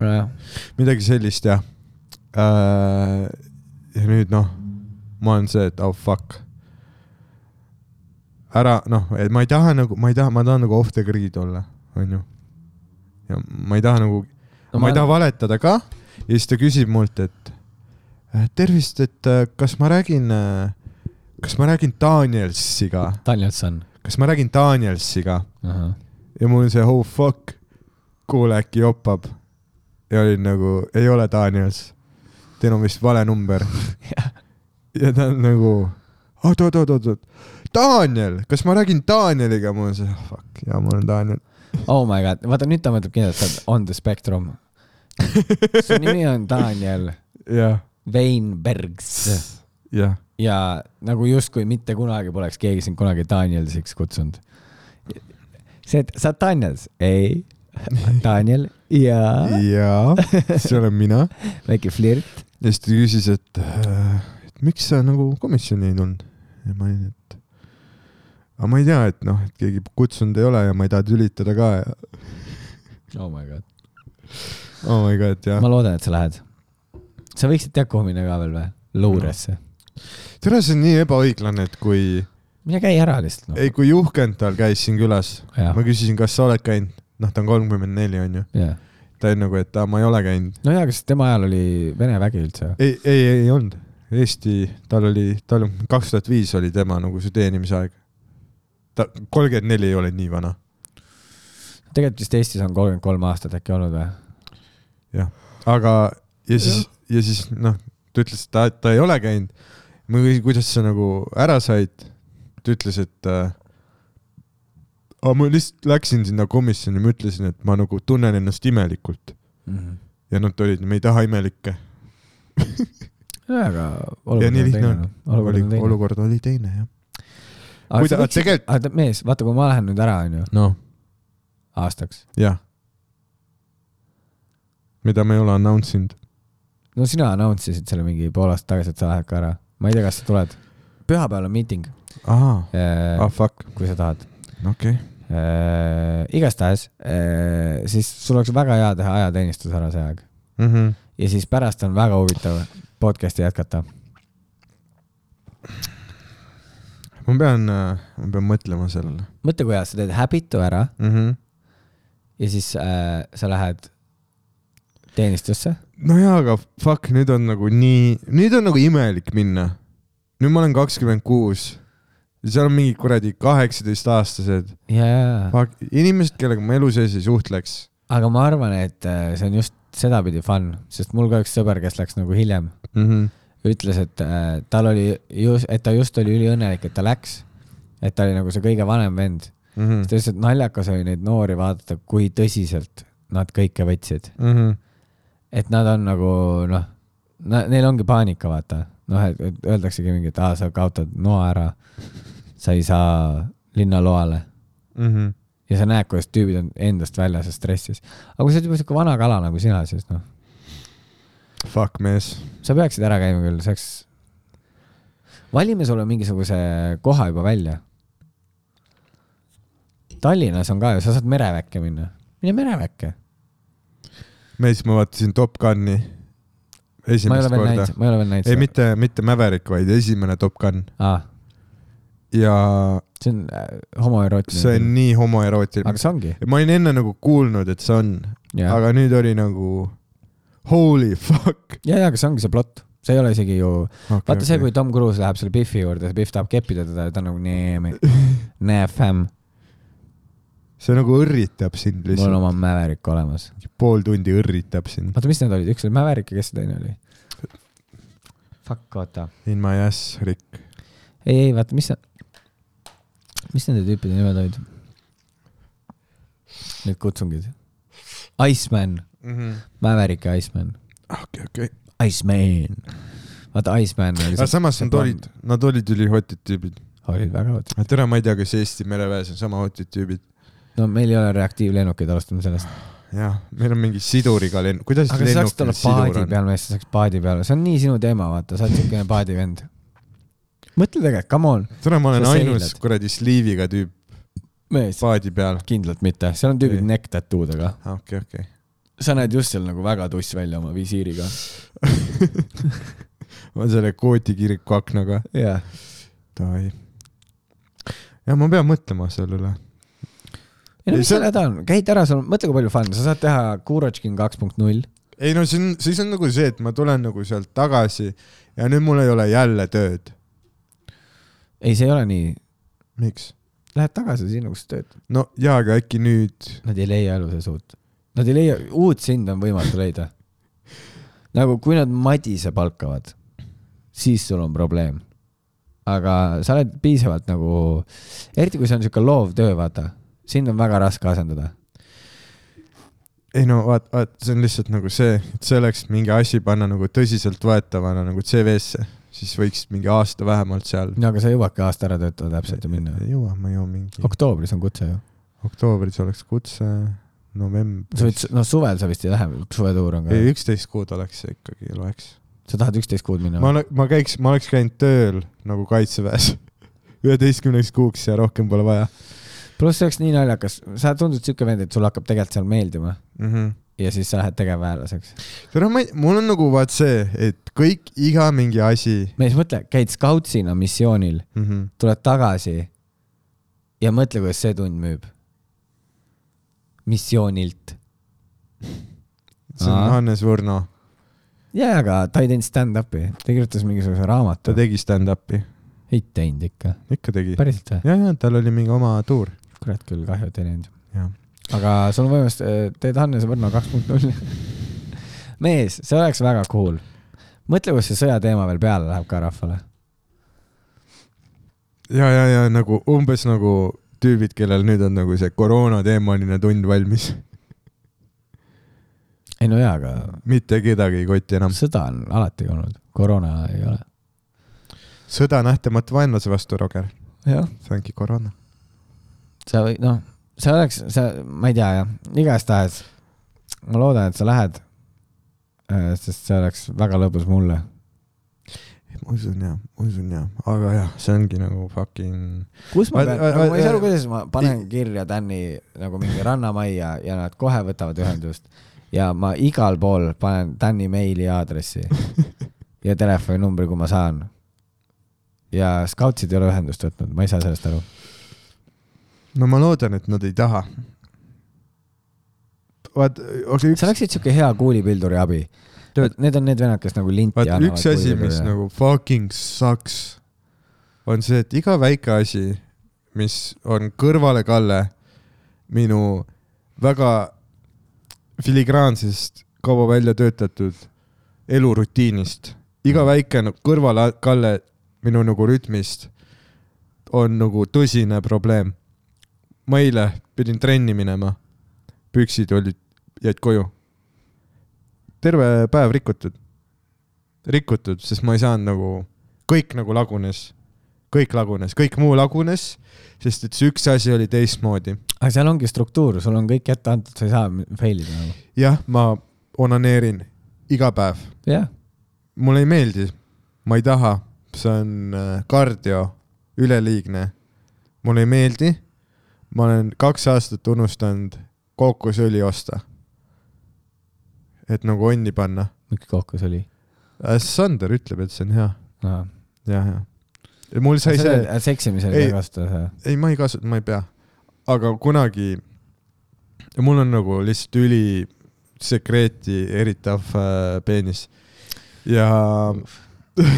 nojah , midagi sellist jah äh, . ja nüüd noh , ma olen see , et oh fuck . ära noh , et ma ei taha nagu , ma ei taha , ma tahan nagu off the grid olla , onju . ja ma ei taha nagu no, , ma ei taha valetada ka ja siis ta küsib mult , et äh, tervist , et äh, kas ma räägin , kas ma räägin Danielsiga , Tallinson . kas ma räägin Danielsiga ahah ja mul on see oh fuck , kuule äkki joppab . ja olin nagu , ei ole Daniels , teil on vist vale number . ja ta on nagu oot , oot , oot , oot , oot , Daniel , kas ma räägin Danieliga , mul on see oh, fuck ja ma olen Daniel . oh my god , vaata nüüd ta mõtleb kindlalt , sa oled on the spectrum . su nimi on Daniel jah , Weinbergs jah , ja nagu justkui mitte kunagi poleks keegi sind kunagi Danielsiks kutsunud . see , et sa oled Daniels , ei , Daniel ja ja see olen mina . väike flirt . ja siis ta küsis , et , et miks sa nagu komisjoni ei tulnud ja ma olin , et aga ma ei tea , et noh , et keegi kutsunud ei ole ja ma ei taha tülitada ka ja oh my god , oh my god jah . ma loodan , et sa lähed . sa võiksid teha kuhumine ka veel või ? luuresse . tere , see on nii ebaõiglane , et kui , mine käi ära lihtsalt ei noh . kui Juhkendal käis siin külas , jah ma , küsisin , kas sa oled käinud , noh , ta on kolmkümmend neli , onju . jah . ta oli nagu , et aa, ma ei ole käinud . no jaa , kas tema ajal oli Vene vägi üldse ? ei , ei , ei olnud . Eesti , tal oli , tal kaks tuhat viis oli tema nagu see teenimisaeg . ta , kolmkümmend neli ei ole nii vana . tegelikult vist Eestis on kolmkümmend kolm aastat äkki olnud või ? aga , ja siis , ja siis noh , ta ütles , et ta , ta ei ole käinud . ma küsisin , kuidas sa nagu ära said . ta ütles , et äh, aga ma lihtsalt läksin sinna komisjoni , ma ütlesin , et ma nagu tunnen ennast imelikult Mhm. ja nad olid , me ei taha imelikke . aga olukord ja nii on lihtne on teine . olukord on teine . olukord oli teine jah . aga kuida- sa võiksid tegelikult- tegelikult... , aga mees , vaata , kui ma lähen nüüd ära , onju , noh , aastaks . jah . mida me ei ole announce inud . no sina announce isid selle mingi pool aastat tagasi , et sa lähed ka ära . ma ei tea , kas sa tuled . pühapäeval on miiting . aa , ah kui fuck , sa tahad . okei . igastahes , siis sul oleks väga hea teha ajateenistus ära see aeg Mhm. ja siis pärast on väga huvitav podcast'i jätkata . ma pean , ma pean mõtlema sellele mõtle , kui hea , sa teed Habitu ära mm . -hmm. ja siis äh, sa lähed teenistusse . no jaa , aga fuck , nüüd on nagu nii , nüüd on nagu imelik minna . nüüd ma olen kakskümmend kuus ja seal on mingid kuradi kaheksateistaastased , jaa , inimesed , kellega ma elu sees ei suhtleks . aga ma arvan , et äh, see on just sedapidi fun , sest mul ka üks sõber , kes läks nagu hiljem , Mhm, ütles , et äh, tal oli just , et ta just oli üliõnnelik , et ta läks . et ta oli nagu see kõige vanem vend . Mm. mhm, siis ta ütles , et naljakas oli neid noori vaadata , kui tõsiselt nad kõike võtsid . mhm, et nad on nagu noh , neil ongi paanika , vaata . noh , et et öeldaksegi mingi , et aa , sa kaotad noa ära . sa ei saa linnaloale mhm. ja sa näed , kuidas tüübid on endast väljas ja stressis . aga kui sa oled juba siuke vana kala nagu sina , siis noh , Fuck mees , sa peaksid ära käima küll , see oleks . valime sulle mingisuguse koha juba välja . Tallinnas on ka ju , sa saad mereväkke minna . mine mereväkke . mees , ma vaatasin Top Guni ma ei ole esimest veel korda näinud ., ma ei ole veel näinud ei ,. mitte , mitte Maverick , vaid esimene Top Gun aa , ja see on äh, homoerootiline . see on nii homoerootiline Mhm. aga . see ongi . ma olin enne nagu kuulnud , et see on , ja , aga nüüd oli nagu holy fuck ja , ja , aga see ongi see plott , see ei ole isegi ju , okay, . vaata see , kui Tom Cruise läheb selle Biffi juurde , Biff tahab keppida teda ja ta on nagu nii , näe fämm , see nagu õrritab sind mul on lihtsalt , oma Maverick olemas . pool tundi õrritab sind oota , mis need olid , üks oli Maverick ja kes see teine oli ? Fuck , oota . in my ass , Rick . ei , ei vaata , mis , mis nende tüüpide nimed olid ? Need kutsungid . Iceman , Maverick ja Iceman . okei , okei . Iceman . vaata , Iceman oli aga samas nad olid , nad olid ülihotid tüübid . olid väga huvitavad . tere , ma ei tea , kas Eesti mereväes on sama hotid tüübid . no meil ei ole reaktiivlennukeid , alustame sellest . jah , meil on mingi siduriga lenn , kuidas aga sa saaks lennukil tulla paadi sidur on ? peal , mees , sa saaks paadi peal , see on nii sinu teema , vaata , sa oled siukene paadivend . mõtle tegelikult , come on , tere , ma olen sa ainus seilad. kuradi sliiviga tüüp mees , paadi peal . kindlalt mitte , seal on tüübid Ei. neck tattoodega . okei , okei . sa näed just seal nagu väga tuss välja oma visiiriga . on selle Kooti kiriku aknaga . jah . davai . ja ma pean mõtlema selle üle . ei no mis See- seal häda on , käid ära , sul , mõtle , kui palju fun , sa saad teha Kurotškin kaks punkt null . ei no see on , siis on nagu see , et ma tulen nagu sealt tagasi ja nüüd mul ei ole jälle tööd . ei , see ei ole nii , miks ? lähed tagasi sinna , kus sa töötad . no jaa , aga äkki nüüd , Nad ei leia elu sees uut , nad ei leia , uut sind on võimatu leida . nagu kui nad madise palkavad , siis sul on probleem . aga sa oled piisavalt nagu , eriti kui see on siuke loov töö , vaata , sind on väga raske asendada . ei no vaat , vaat see on lihtsalt nagu see , et selleks mingi asi panna nagu tõsiseltvõetavana nagu CV-sse , siis võiks mingi aasta vähemalt seal . no aga sa jõuadki aasta ära töötada täpselt ja minna . ei jõua , ma ei jõua mingi ok oktoobris on kutse ju . oktoobris oleks kutse , sa võid novembris ,, no suvel sa vist ei lähe , suvetuur on ka ei . üksteist kuud oleks see ikkagi loeks . sa tahad üksteist kuud minna ? ma , ma käiks , ma oleks käinud tööl nagu kaitseväes üheteistkümneks kuuks ja rohkem pole vaja pluss see oleks nii naljakas , sa tundud siuke vend , et sul hakkab tegelikult seal meeldima mm . -hmm ja siis sa lähed tegevväelaseks . tere , ma ei , mul on nagu vaat see , et kõik , iga mingi asi mees , mõtle , käid skautsina missioonil , mm . -hmm. tuled tagasi ja mõtle , kuidas see tund müüb . missioonilt . see on Aa. Hannes Võrno , jaa , aga ta ei teinud stand-up'i , ta kirjutas mingisuguse ta raamatu . tegi stand-up'i , ei teinud ikka . ikka tegi . päriselt või ? ja , ja tal oli mingi oma tuur . kurat küll , kahju , et ei teinud . jah , aga sul on võimalus , teed Hannes Võrno kaks punkt null . mees , see oleks väga cool . mõtle , kuidas see sõjateema veel peale läheb ka rahvale . ja , ja , ja nagu umbes nagu tüübid , kellel nüüd on nagu see koroona teemaline tund valmis . ei no jaa , aga mitte kedagi ei koti enam . sõda on alati olnud , koroona ei ole . sõda nähtamatu vaenlase vastu , Roger . jah , see ongi koroona . sa või noh , see oleks , sa , ma ei tea jah , igastahes ma loodan , et sa lähed . sest see oleks väga lõbus mulle . ma usun ja , ma usun ja , aga jah , see ongi nagu fucking . kus ma Ma- pean , ma- ma ei saa aru , ma- kuidas ma panen kirja Tänni nagu mingi rannamajja ja nad kohe võtavad ühendust ja ma igal pool panen Tänni meili aadressi ja telefoninumbri , kui ma saan . ja Scoutsid ei ole ühendust võtnud , ma ei saa sellest aru . no ma loodan , et nad ei taha . vaat , oli sa üks , oleksid siuke hea kuulipilduri abi . Tead- Need on need vennad , kes nagu linti vaat üks asi , mis kuulipildurile. nagu fucking sucks , on see , et iga väike asi , mis on kõrvalekalle minu väga filigraansest , kaua välja töötatud elurutiinist , iga väike nagu kõrvalekalle minu nagu rütmist on nagu tõsine probleem . ma eile pidin trenni minema , püksid olid , jäid koju . terve päev rikutud , rikutud , sest ma ei saanud nagu , kõik nagu lagunes , kõik lagunes , kõik muu lagunes , sest et see üks asi oli teistmoodi . aga seal ongi struktuur , sul on kõik ette antud , sa ei saa fail ida nagu . jah , ma onaneerin iga päev , jah , mulle ei meeldi , ma ei taha , see on äh, kardio , üleliigne . mulle ei meeldi , ma olen kaks aastat unustanud kookosõli osta . et nagu onni panna . miks kohkus oli Sander ütleb , et see on hea , no. ? jah , jah . mul sai see , seksimisel ei- ei kasuta seda . ei , ma ei kasuta , ma ei pea . aga kunagi , mul on nagu lihtsalt üli sekreeti eritav äh, peenis ja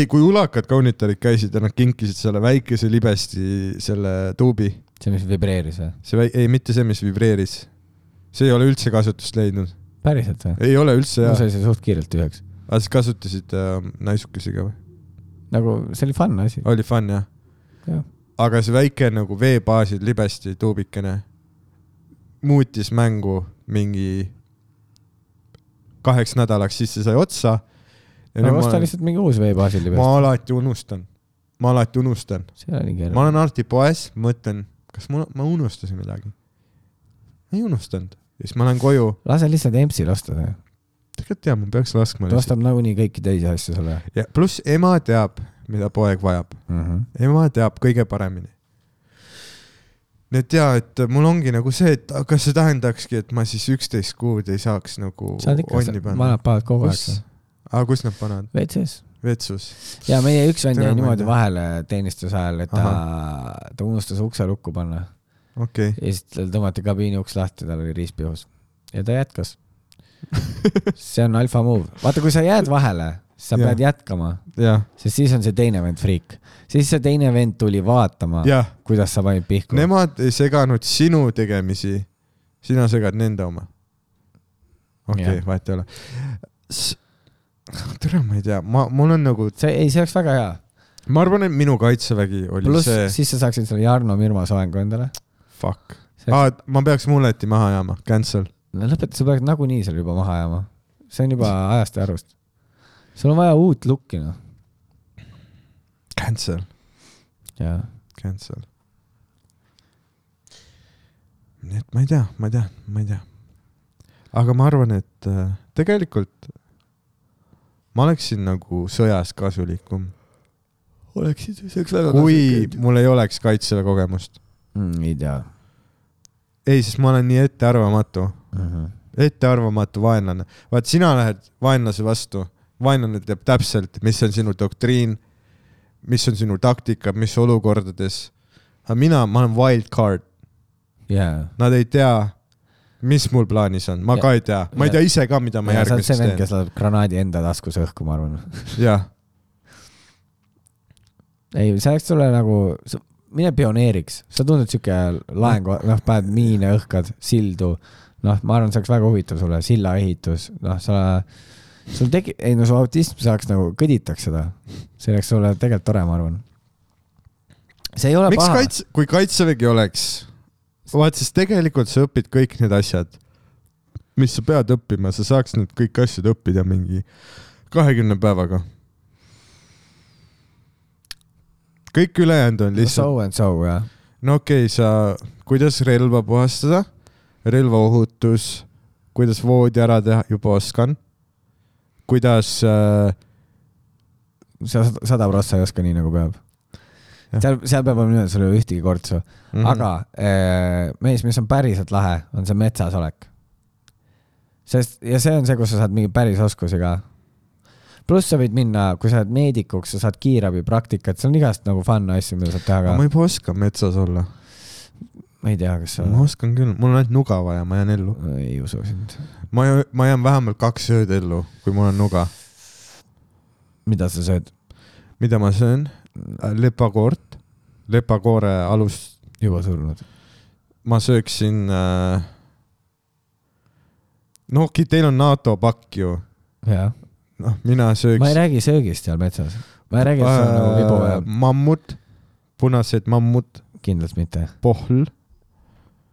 ei , kui ulakad kaunitarid käisid ja nad kinkisid selle väikese libesti selle tuubi , see , mis vibreeris või ? see väi- , ei mitte see , mis vibreeris . see ei ole üldse kasutust leidnud , päriselt või ? ei ole üldse mul jaa . sai see suht kiirelt tühjaks . aga siis kasutasid äh, naisukesega või ? nagu see oli fun asi . oli fun jah Jah. ? aga see väike nagu veebaasil libesti tuubikene muutis mängu mingi kaheks nädalaks , siis see sai otsa . aga osta lihtsalt mingi uus veebaasil ma juba . alati unustan , ma alati unustan , see oli ma keeruline . olen alati poes , mõtlen , kas mul , ma unustasin midagi . ei unustanud ja siis ma lähen koju , lase lihtsalt EMS-il osta see . tegelikult tean , ma peaks laskma ta . ostab nagunii kõiki teisi asju sulle ja pluss ema teab , mida poeg vajab . mm . -hmm. ema teab kõige paremini . nii et jaa , et mul ongi nagu see , et aga kas see tähendakski , et ma siis üksteist kuud ei saaks nagu sa oled ikka , onni panna ? vanad panevad kogu aeg kus ? aga kus nad panevad ? WC-s . vetsus . ja meie üks vend Tere, jäi ma ei niimoodi tea. vahele teenistuse ajal , et ta , ta unustas ukse lukku panna okei ja siis tal tõmmati kabiini uks lahti , tal oli riis pihus ja ta jätkas . see on alfa move , vaata , kui sa jääd vahele , sa Jah. pead jätkama , okay. , jah , sest siis on see teine vend friik , siis see teine vend tuli vaatama , jah , kuidas sa panid pihku . nemad ei seganud sinu tegemisi , sina segad nende oma . okei okay, Jah. , vahet ei ole . tere , ma ei tea , ma , mul on nagu , see , ei , see oleks väga hea . ma arvan , et minu kaitsevägi oli pluss see , siis sa saaksid selle Jarno Mirma soengu endale . fuck . aa , ma peaks muleti maha jääma , cancel . no lõpeta , sa pead nagunii selle juba maha ajama . see on juba ajast ja arust . sul on vaja uut looki , noh . Cancel . jaa . cancel . nii et ma ei tea , ma ei tea , ma ei tea . aga ma arvan , et äh, tegelikult ma oleksin nagu sõjas kasulikum , oleksid , see oleks väga kui mul ei oleks kaitseväe kogemust . mm, . ei tea ei , sest ma olen nii ettearvamatu , mm . Mhm. -hmm. ettearvamatu vaenlane . vaat sina lähed vaenlase vastu , vaenlane teab täpselt , mis on sinu doktriin , mis on sinu taktika , mis olukordades . aga mina , ma olen wild card . jaa . nad ei tea , mis mul plaanis on , ma Ja- ja. ka ei tea , ma ei ja- tea ise ka , mida ma sa oled see järgmiseks vend , teen . kes laseb granaadi enda taskus õhku , ma arvan . jah , ei , see oleks sulle nagu , mine pioneeriks , sa tundud siuke laeng , noh , paned miine , õhkad , sildu , noh , ma arvan , see oleks väga huvitav sulle , sillaehitus , noh , sa , sul tegi- , ei no su autism saaks nagu , kõditaks seda . see oleks sulle tegelikult tore , ma arvan . see ei ole miks paha . kaitse , kui kaitsevägi oleks , vaat siis tegelikult sa õpid kõik need asjad , mis sa pead õppima , sa saaks need kõik asjad õppida mingi kahekümne päevaga . kõik ülejäänud on lihtsalt , So and so jah . no okei okay, , sa , kuidas relva puhastada , relvaohutus , kuidas voodi ära teha , juba oskan . kuidas äh, , sa sada- sada prossa ei oska nii nagu peab . Jah. seal , seal peab olema niimoodi , sul ei ole ühtegi kortsu mm . Mhm. -hmm. aga eh, mees , mis on päriselt lahe , on see metsas olek . sest , ja see on see , kus sa saad mingi päris oskusi ka . pluss sa võid minna , kui sa oled meedikuks , sa saad kiirabipraktikat , seal on igast nagu fun asju , mida saab teha ka ma . juba oskan metsas olla , ma ei tea , kas sa ma oskan küll , mul on ainult nuga vaja , ma jään ellu . ei usu sind . ma , ma jään vähemalt kaks ööd ellu , kui mul on nuga . mida sa sööd ? mida ma söön ? lepakoort , lepakoore alus , juba surnud . ma sööksin äh... . no okei , teil on NATO pakk ju , jah . noh , mina sööks . ma ei räägi söögist seal metsas . ma ei räägi , et seal on nagu vibu ja äh, mammut , punased mammut , kindlalt mitte . pohl ,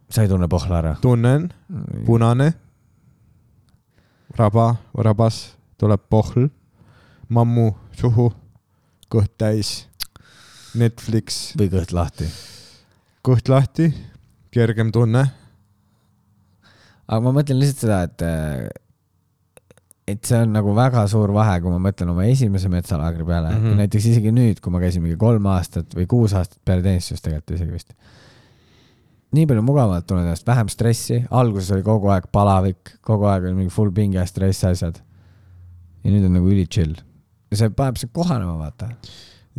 sa ei tunne pohla ära ? tunnen , punane , raba , rabas , tuleb pohl , mammu suhu , kõht täis , Netflix või kõht lahti ? kõht lahti , kergem tunne . aga ma mõtlen lihtsalt seda , et äh, et see on nagu väga suur vahe , kui ma mõtlen oma esimese metsalaagri peale mm , Mhm. -hmm. näiteks isegi nüüd , kui ma käisin mingi kolm aastat või kuus aastat peale teenistust tegelikult isegi vist . nii palju mugavamalt tunnen ennast , vähem stressi , alguses oli kogu aeg palavik , kogu aeg oli mingi full pinge ja stress asjad . ja nüüd on nagu üli chill . ja see paneb sind kohanema , vaata .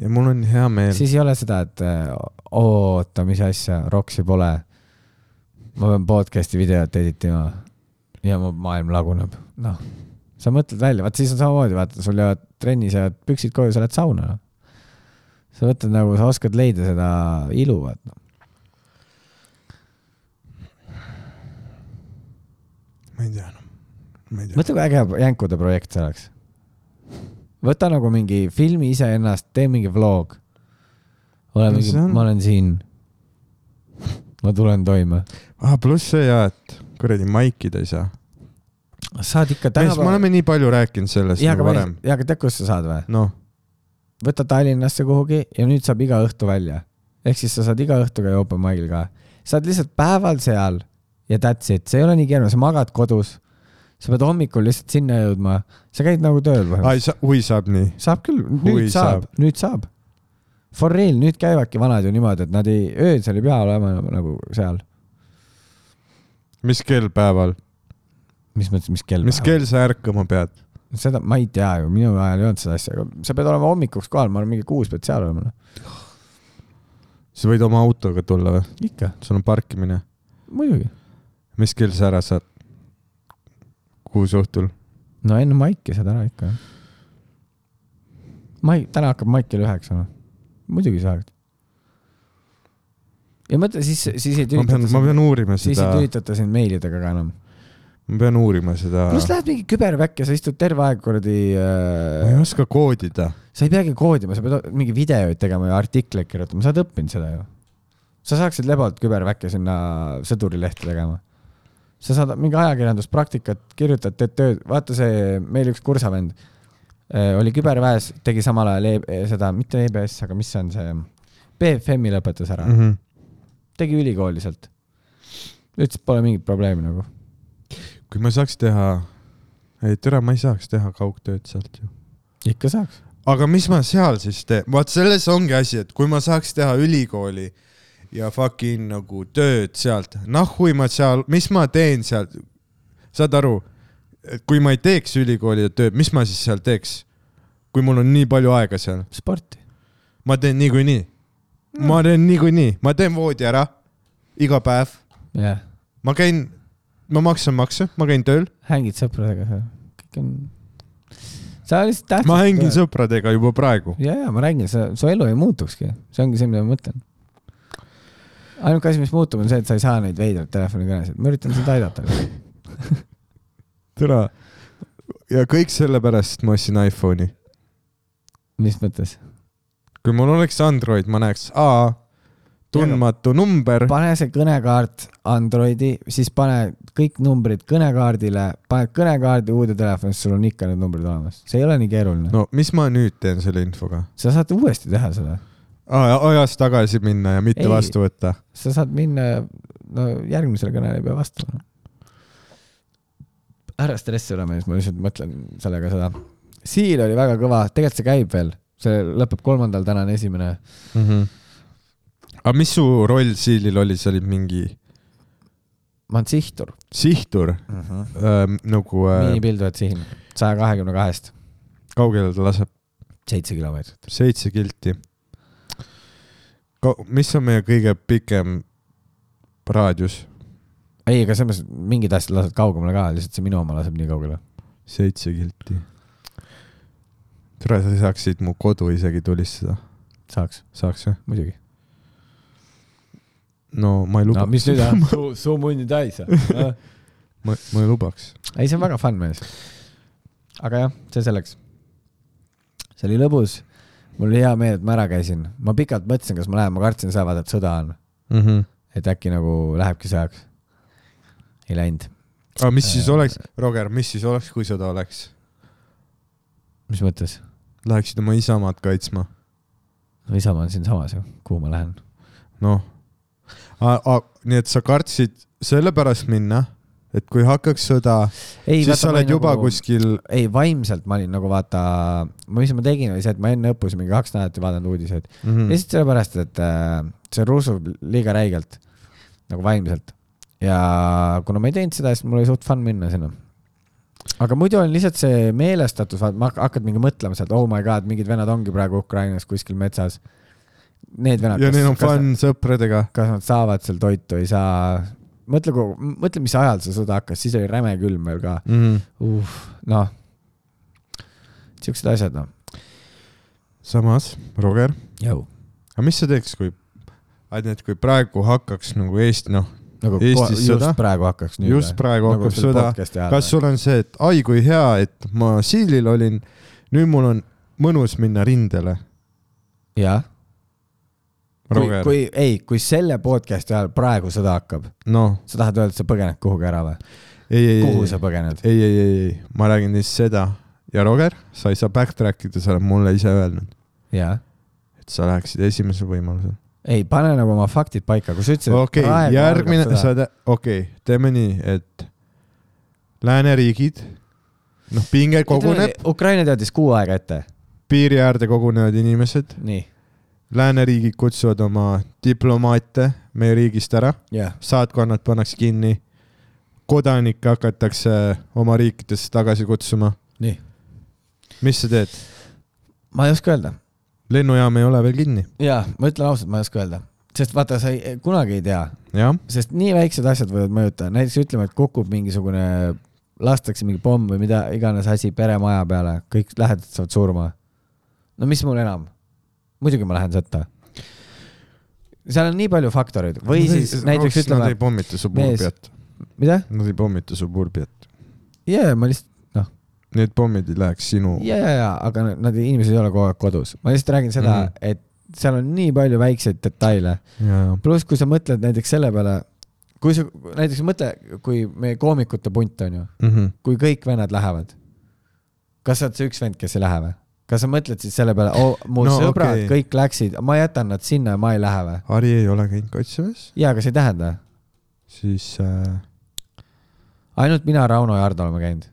ja mul on hea meel . siis ei ole seda , et äh, oota , mis asja , roksi pole . ma pean podcast'i videot editima ja mu maailm laguneb . noh , sa mõtled välja , vaat siis on samamoodi , vaata , sul jäävad trennis jäävad püksid koju , sa lähed sauna . sa võtad nagu , sa oskad leida seda ilu , vaata . ma ei tea enam , ma ei tea . mõtle , kui äge jänkude projekt see oleks . võta nagu mingi filmi iseennast , tee mingi vlog . ole No mingi see , on- ma olen siin . ma tulen toime . ah, . pluss see ja , et kuradi maikida ei saa . saad ikka me oleme nii palju rääkinud sellest jaa , nagu aga varem varem .. jaa , aga tead , kus sa saad või ? noh , võta Tallinnasse kuhugi ja nüüd saab iga õhtu välja . ehk siis sa saad iga õhtu käia open mic'il ka . sa oled lihtsalt päeval seal ja that's it , see ei ole nii keeruline , sa magad kodus . sa pead hommikul lihtsalt sinna jõudma , sa käid nagu tööl ai põhimõtteliselt . sa , oi saab nii . saab küll , Hui, nüüd saab, saab. , nüüd saab . For real , nüüd käivadki vanad ju niimoodi , et nad ei , öösel ei pea olema nagu seal . mis kell päeval , mis mõttes , mis kell ? mis kell sa ärkama pead ? seda ma ei tea ju , minu ajal ei olnud seda asja , aga sa pead olema hommikuks kohal , ma arvan , mingi kuus pead seal olema . noh. sa võid oma autoga tulla või ? ikka , sul on parkimine . muidugi . mis kell sa ära saad ? kuus õhtul . no enne maiki saad ära ikka . mai , täna hakkab maik kell üheksa , noh . muidugi saad . ja mõtle , siis , siis ei ma pean , ma tülitata , pean uurima siis seda ei , tülitata sind meilidega ka enam . ma pean uurima seda . pluss lähed mingi küberväkke , sa istud terve aeg kuradi ma ei äh, , oska koodida . sa ei peagi koodima , sa pead mingi videoid tegema ja artikleid kirjutama , sa oled õppinud seda ju . sa saaksid lebalt küberväkke sinna sõdurilehte tegema . sa saad mingi ajakirjanduspraktikat , kirjutad , teed tööd , vaata see , meil üks kursavend äh, oli küberväes , tegi samal ajal e e- seda , mitte EBS , aga mis see on see , BFM-i lõpetas ära , tegi ülikooli sealt . ütles , et pole mingit probleemi nagu . kui ma saaks teha , ei tere , ma ei saaks teha kaugtööd sealt ju . ikka saaks . aga mis ma seal siis teen , vaat selles ongi asi , et kui ma saaks teha ülikooli ja fucking nagu tööd sealt , noh kui ma seal , mis ma teen seal , saad aru , et kui ma ei teeks ülikooli ja tööd , mis ma siis seal teeks ? kui mul on nii palju aega seal , sporti . ma teen niikuinii , ma teen niikuinii , ma teen voodi ära iga päev , jah , ma käin , ma maksan makse , ma käin tööl , hängid sõpradega seal , kõik on . sa lihtsalt tähtsad . ma hängin sõpradega juba praegu . ja , ja ma räägin , sa , su elu ei muutukski , see ongi see , mida ma mõtlen . ainuke asi , mis muutub , on see , et sa ei saa neid veidraid telefonikõnesid , ma üritan sind aidata . türa . ja kõik sellepärast , et ma ostsin iPhone'i . mis mõttes ? kui mul oleks Android , ma näeks , aa , tundmatu number . pane see kõnekaart Androidi , siis pane kõik numbrid kõnekaardile , paned kõnekaardi uude telefonisse , sul on ikka need numbrid olemas . see ei ole nii keeruline no. . no mis ma nüüd teen selle infoga ? sa saad uuesti teha seda , ajas tagasi minna ja mitte Ei. ei. vastu võtta . sa saad minna , no järgmisele kõnele ei pea vastama . ära stressi ole mees , ma lihtsalt mõtlen sellega seda . siil oli väga kõva , tegelikult see käib veel , see lõpeb kolmandal , täna on esimene . mm . -hmm. aga mis su roll siilil oli , sa olid mingi ma olen sihtur sihtur uh -huh. , nagu äh, miinipildujat sihin , saja kahekümne kahest , kaugele ta laseb , seitse kilomeetrit . seitse kilti . mis on meie kõige pikem raadius ? ei , aga selles mõttes mingid asjad lased kaugemale ka , lihtsalt see minu oma laseb nii kaugele . seitse kilti . tere , sa saaksid mu kodu isegi tulistada , saaks , saaks või ? muidugi . no ma ei luba no mis nüüd on , suu , suu mundi täis . ah. ei , ma, ma ei lubaks . see on väga fun mees . aga jah , see selleks . see oli lõbus . mul oli hea meel , et ma ära käisin . ma pikalt mõtlesin , kas ma lähen , ma kartsin seda , vaata , et sõda on . Mm -hmm. et äkki nagu lähebki sõjaks . ei läinud . aga mis siis Äh, oleks , Roger , mis siis oleks , kui seda oleks ? mis mõttes ? Läheksid oma isamaad kaitsma ? no Isamaa on siinsamas ju , kuhu ma lähen ? noh , nii et sa kartsid sellepärast minna , et kui hakkaks sõda , siis sa oled juba nagu... kuskil , ei , vaimselt ma olin nagu vaata , mis ma tegin , oli see , et ma enne õppus mingi kaks nädalat ei vaadanud uudiseid mm. . Mhm. lihtsalt sellepärast , et äh, see rusub liiga räigelt nagu vaimselt ja kuna ma ei teinud seda , siis mul oli suht fun minna sinna . aga muidu on lihtsalt see meelestatus , vaat ma hak- hakkad mingi mõtlema sealt , oh my god , mingid venad ongi praegu Ukrainas kuskil metsas . Need venad . ja neil on fun sõpradega . kas nad saavad seal toitu , ei saa . mõtle , mõtle , mis ajal see sõda hakkas , siis oli räme külm veel ka . uh, . noh , siuksed asjad , noh . samas , Roger , jõu . aga mis sa teeks , kui , et kui praegu hakkaks nagu Eesti , noh , nagu Eestis ko- sõda? just praegu hakkaks nüüd . just praegu hakkab sõda , kas kas sul ? sul on see , et ai kui hea , et ma siilil olin , nüüd mul on mõnus minna rindele , jah . kui , Roger , kui , ei , kui selle podcast'i ajal praegu sõda hakkab , noh , sa tahad öelda , et sa põgened kuhugi ära või ? ei , ei , kuhu ei sa , põgened ? ei , ei , ei , ei , ma räägin neist seda ja Roger , sa ei saa backtrack ida , sa oled mulle ise öelnud , jah . et sa läheksid esimesel võimalusel . ei , pane nagu oma faktid paika , kui sa ütlesid . okei , järgmine , sa . tea- , okei okay, , teeme nii , et lääneriigid , noh , pinge koguneb ,. Ukraina teadis kuu aega ette . piiri äärde kogunevad inimesed , nii . lääneriigid kutsuvad oma diplomaate meie riigist ära , jah . saatkonnad pannakse kinni , kodanikke hakatakse oma riikidesse tagasi kutsuma . nii . mis sa teed ? ma ei oska öelda . lennujaam ei ole veel kinni , jaa , ma ütlen ausalt , ma ei oska öelda . sest vaata , sa ei , kunagi ei tea jah , sest nii väiksed asjad võivad mõjutada , näiteks ütleme , et kukub mingisugune , lastakse mingi pomm või mida iganes asi peremaja peale , kõik lähedased saavad surma . no mis mul enam ? muidugi ma lähen sõtta . seal on nii palju faktoreid või siis näiteks Nad ütleme ei , pommita suburbiat , mida ? nad ei pommita suburbiat , jaa , ma lihtsalt , noh , need pommid ei läheks sinu jaa , jaa , jaa , aga nad , inimesed ei ole kogu aeg kodus . ma lihtsalt räägin seda Mhm. mm , -hmm. et seal on nii palju väikseid detaile , yeah. . pluss , kui sa mõtled näiteks selle peale , kui sa näiteks mõtle , kui meie koomikute punt on ju , Mm -hmm. kui kõik vennad lähevad , kas sa oled see üks vend , kes ei lähe või ? kas sa mõtled siis selle peale oh, , mu no, No sõbrad okay. okei. kõik läksid , ma jätan nad sinna ja ma ei lähe või ? Ari ei ole käinud kaitseväes , jaa , aga see ei tähenda . siis äh, ainult mina , Rauno ja Ardo oleme käinud .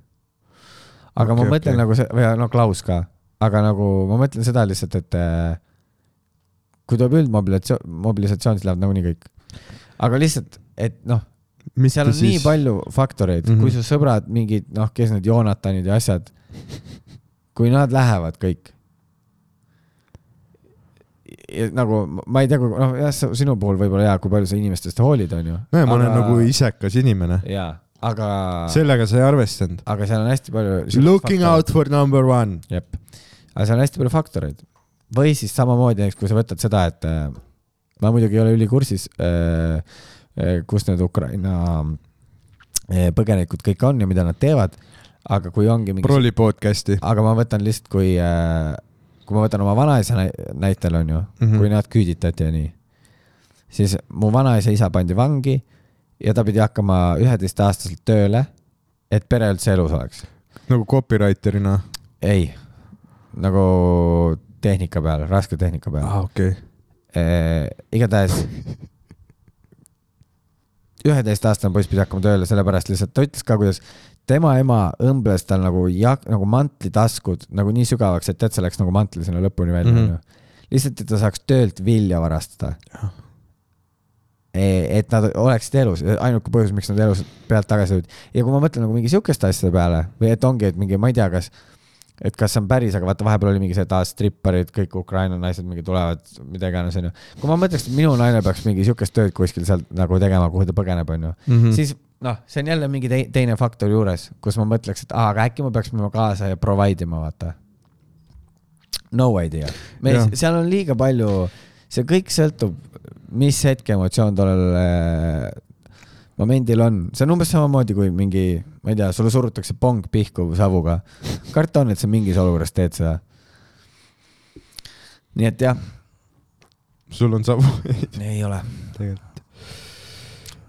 aga okay, ma Okei, mõtlen okay. okei. nagu see , või no Klaus ka , aga nagu ma mõtlen seda lihtsalt , et äh, kui tuleb üldmobilisatsioon , mobilisatsioon , siis lähevad nagunii kõik . aga lihtsalt , et noh , mitte seal on siis... nii palju faktoreid mm , -hmm. Mhm. kui su sõbrad mingid , noh , kes need Joonatanid ja asjad , kui nad lähevad kõik . nagu ma- ma ei tea , kui noh , jah , sinu puhul võib-olla jaa , kui palju sa inimestest hoolid , onju . nojah , ma olen nagu . isekas inimene , jaa , aga Sel... , sellega sa ei arvestanud . aga seal on hästi palju . Looking out for number one . jep , aga seal on hästi palju faktoreid . või siis samamoodi näiteks , kui sa võtad seda , et äh, ma muidugi ei ole ülikursis , kus need Ukraina äh, põgenikud kõik on ja mida nad teevad , aga kui ongi mingi , Proli podcast'i . aga ma võtan lihtsalt , kui , äh, kui ma võtan oma vanaisa nä- näitel , on ju mm , Mhm. -hmm. kui nad küüditati ja nii , siis mu vanaisa isa pandi vangi ja ta pidi hakkama üheteistaastaselt tööle , et pere üldse elus oleks . nagu copywriter'ina . ei , nagu tehnika peal , raske tehnika peal aa , Ah, okei . äh, . igatahes üheteistaastane poiss pidi hakkama tööle , sellepärast lihtsalt ta ütles ka , kuidas tema ema õmbles tal nagu ja- , nagu mantlitaskud nagu nii sügavaks , et tead , see läks nagu mantli sinna lõpuni välja Mhm. mm , onju -hmm. . lihtsalt , et ta saaks töölt vilja varastada . et nad oleksid elus , ainuke põhjus , miks nad elus pealt tagasi tulid . ja kui ma mõtlen nagu mingi sihukeste asjade peale või et ongi , et mingi , ma ei tea , kas , et kas see on päris , aga vaata , vahepeal oli mingi see , et aa , stripparid , kõik Ukraina naised mingi tulevad , mida iganes , onju . kui ma mõtleks , et minu naine peaks mingi sihukest tööd kuskil seal nagu tegema , kuhu ta põgeneb , onju , siis noh , see on jälle mingi tei- teine faktor juures , kus ma mõtleks , et aa , aga äkki ma peaks minema kaasa ja provide ima , vaata . No idea . me Jah. , seal on liiga palju , see kõik sõltub , mis hetke emotsioon tollel äh, momendil on , see on umbes samamoodi kui mingi , ma ei tea , sulle surutakse pong pihku savuga . karta on , et sa mingis olukorras teed seda . nii et jah , sul on savu ei ole , tegelikult .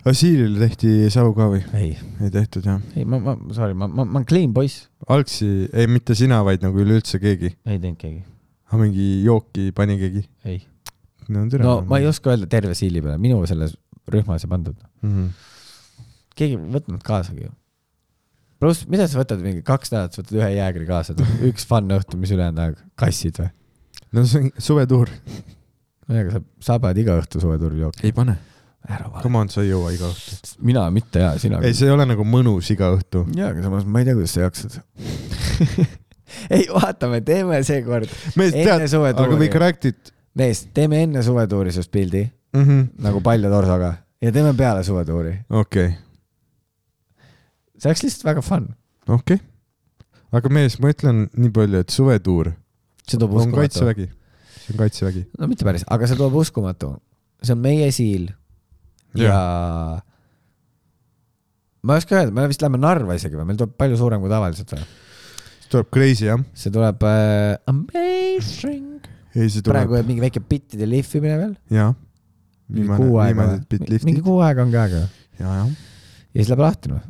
Asiilile tehti savu ka või ? ei , ei tehtud jah . ei ma , ma , sorry , ma , ma , ma olen clean poiss , algsi , ei mitte sina , vaid nagu üleüldse keegi . ei teinud keegi , aga mingi jooki pani keegi . ei . no tere . no ma ei oska öelda terve siili peale , minu selles rühmas ei pandud . mm . -hmm. keegi ei võtnud kaasagi ju . pluss , mida sa võtad mingi kaks nädalat , sa võtad ühe jäägri kaasa , üks fun õhtu , mis ülejäänud aeg , kassid või ? no see on suvetuur . no ega sa , sa paned iga õhtu suveturul jooki . ei pane . ära vale . Come on , sa ei jõua iga õhtu . mina mitte ja sina . ei , see ei ole nagu mõnus iga õhtu . jaa , aga samas ma ei tea , kuidas sa jaksad . ei , vaatame , teeme seekord , mees Enne tead , suvetuuri. aga kõik räägid mees , teeme enne suvetuuri sinust pildi mm -hmm. . nagu palja torsoga ja teeme peale suvetuuri . okei okay. , see oleks lihtsalt väga fun . okei okay. . aga mees , ma ütlen nii palju , et suvetuur see toob on uskumatu . kaitsevägi . see on kaitsevägi . no mitte päris , aga see toob uskumatu . see on meie siil ja ma ei oska öelda , me vist lähme Narva isegi või , meil tuleb palju suurem kui tavaliselt või ? tuleb crazy jah ? see tuleb äh, amazing . ei , see praegu tuleb . jääb mingi väike bittide lihvimine veel . jaa . mingi kuu aega viimased bit või ? mingi liftid . kuu aega on ka aega . jaa , jah . ja siis läheb lahti noh .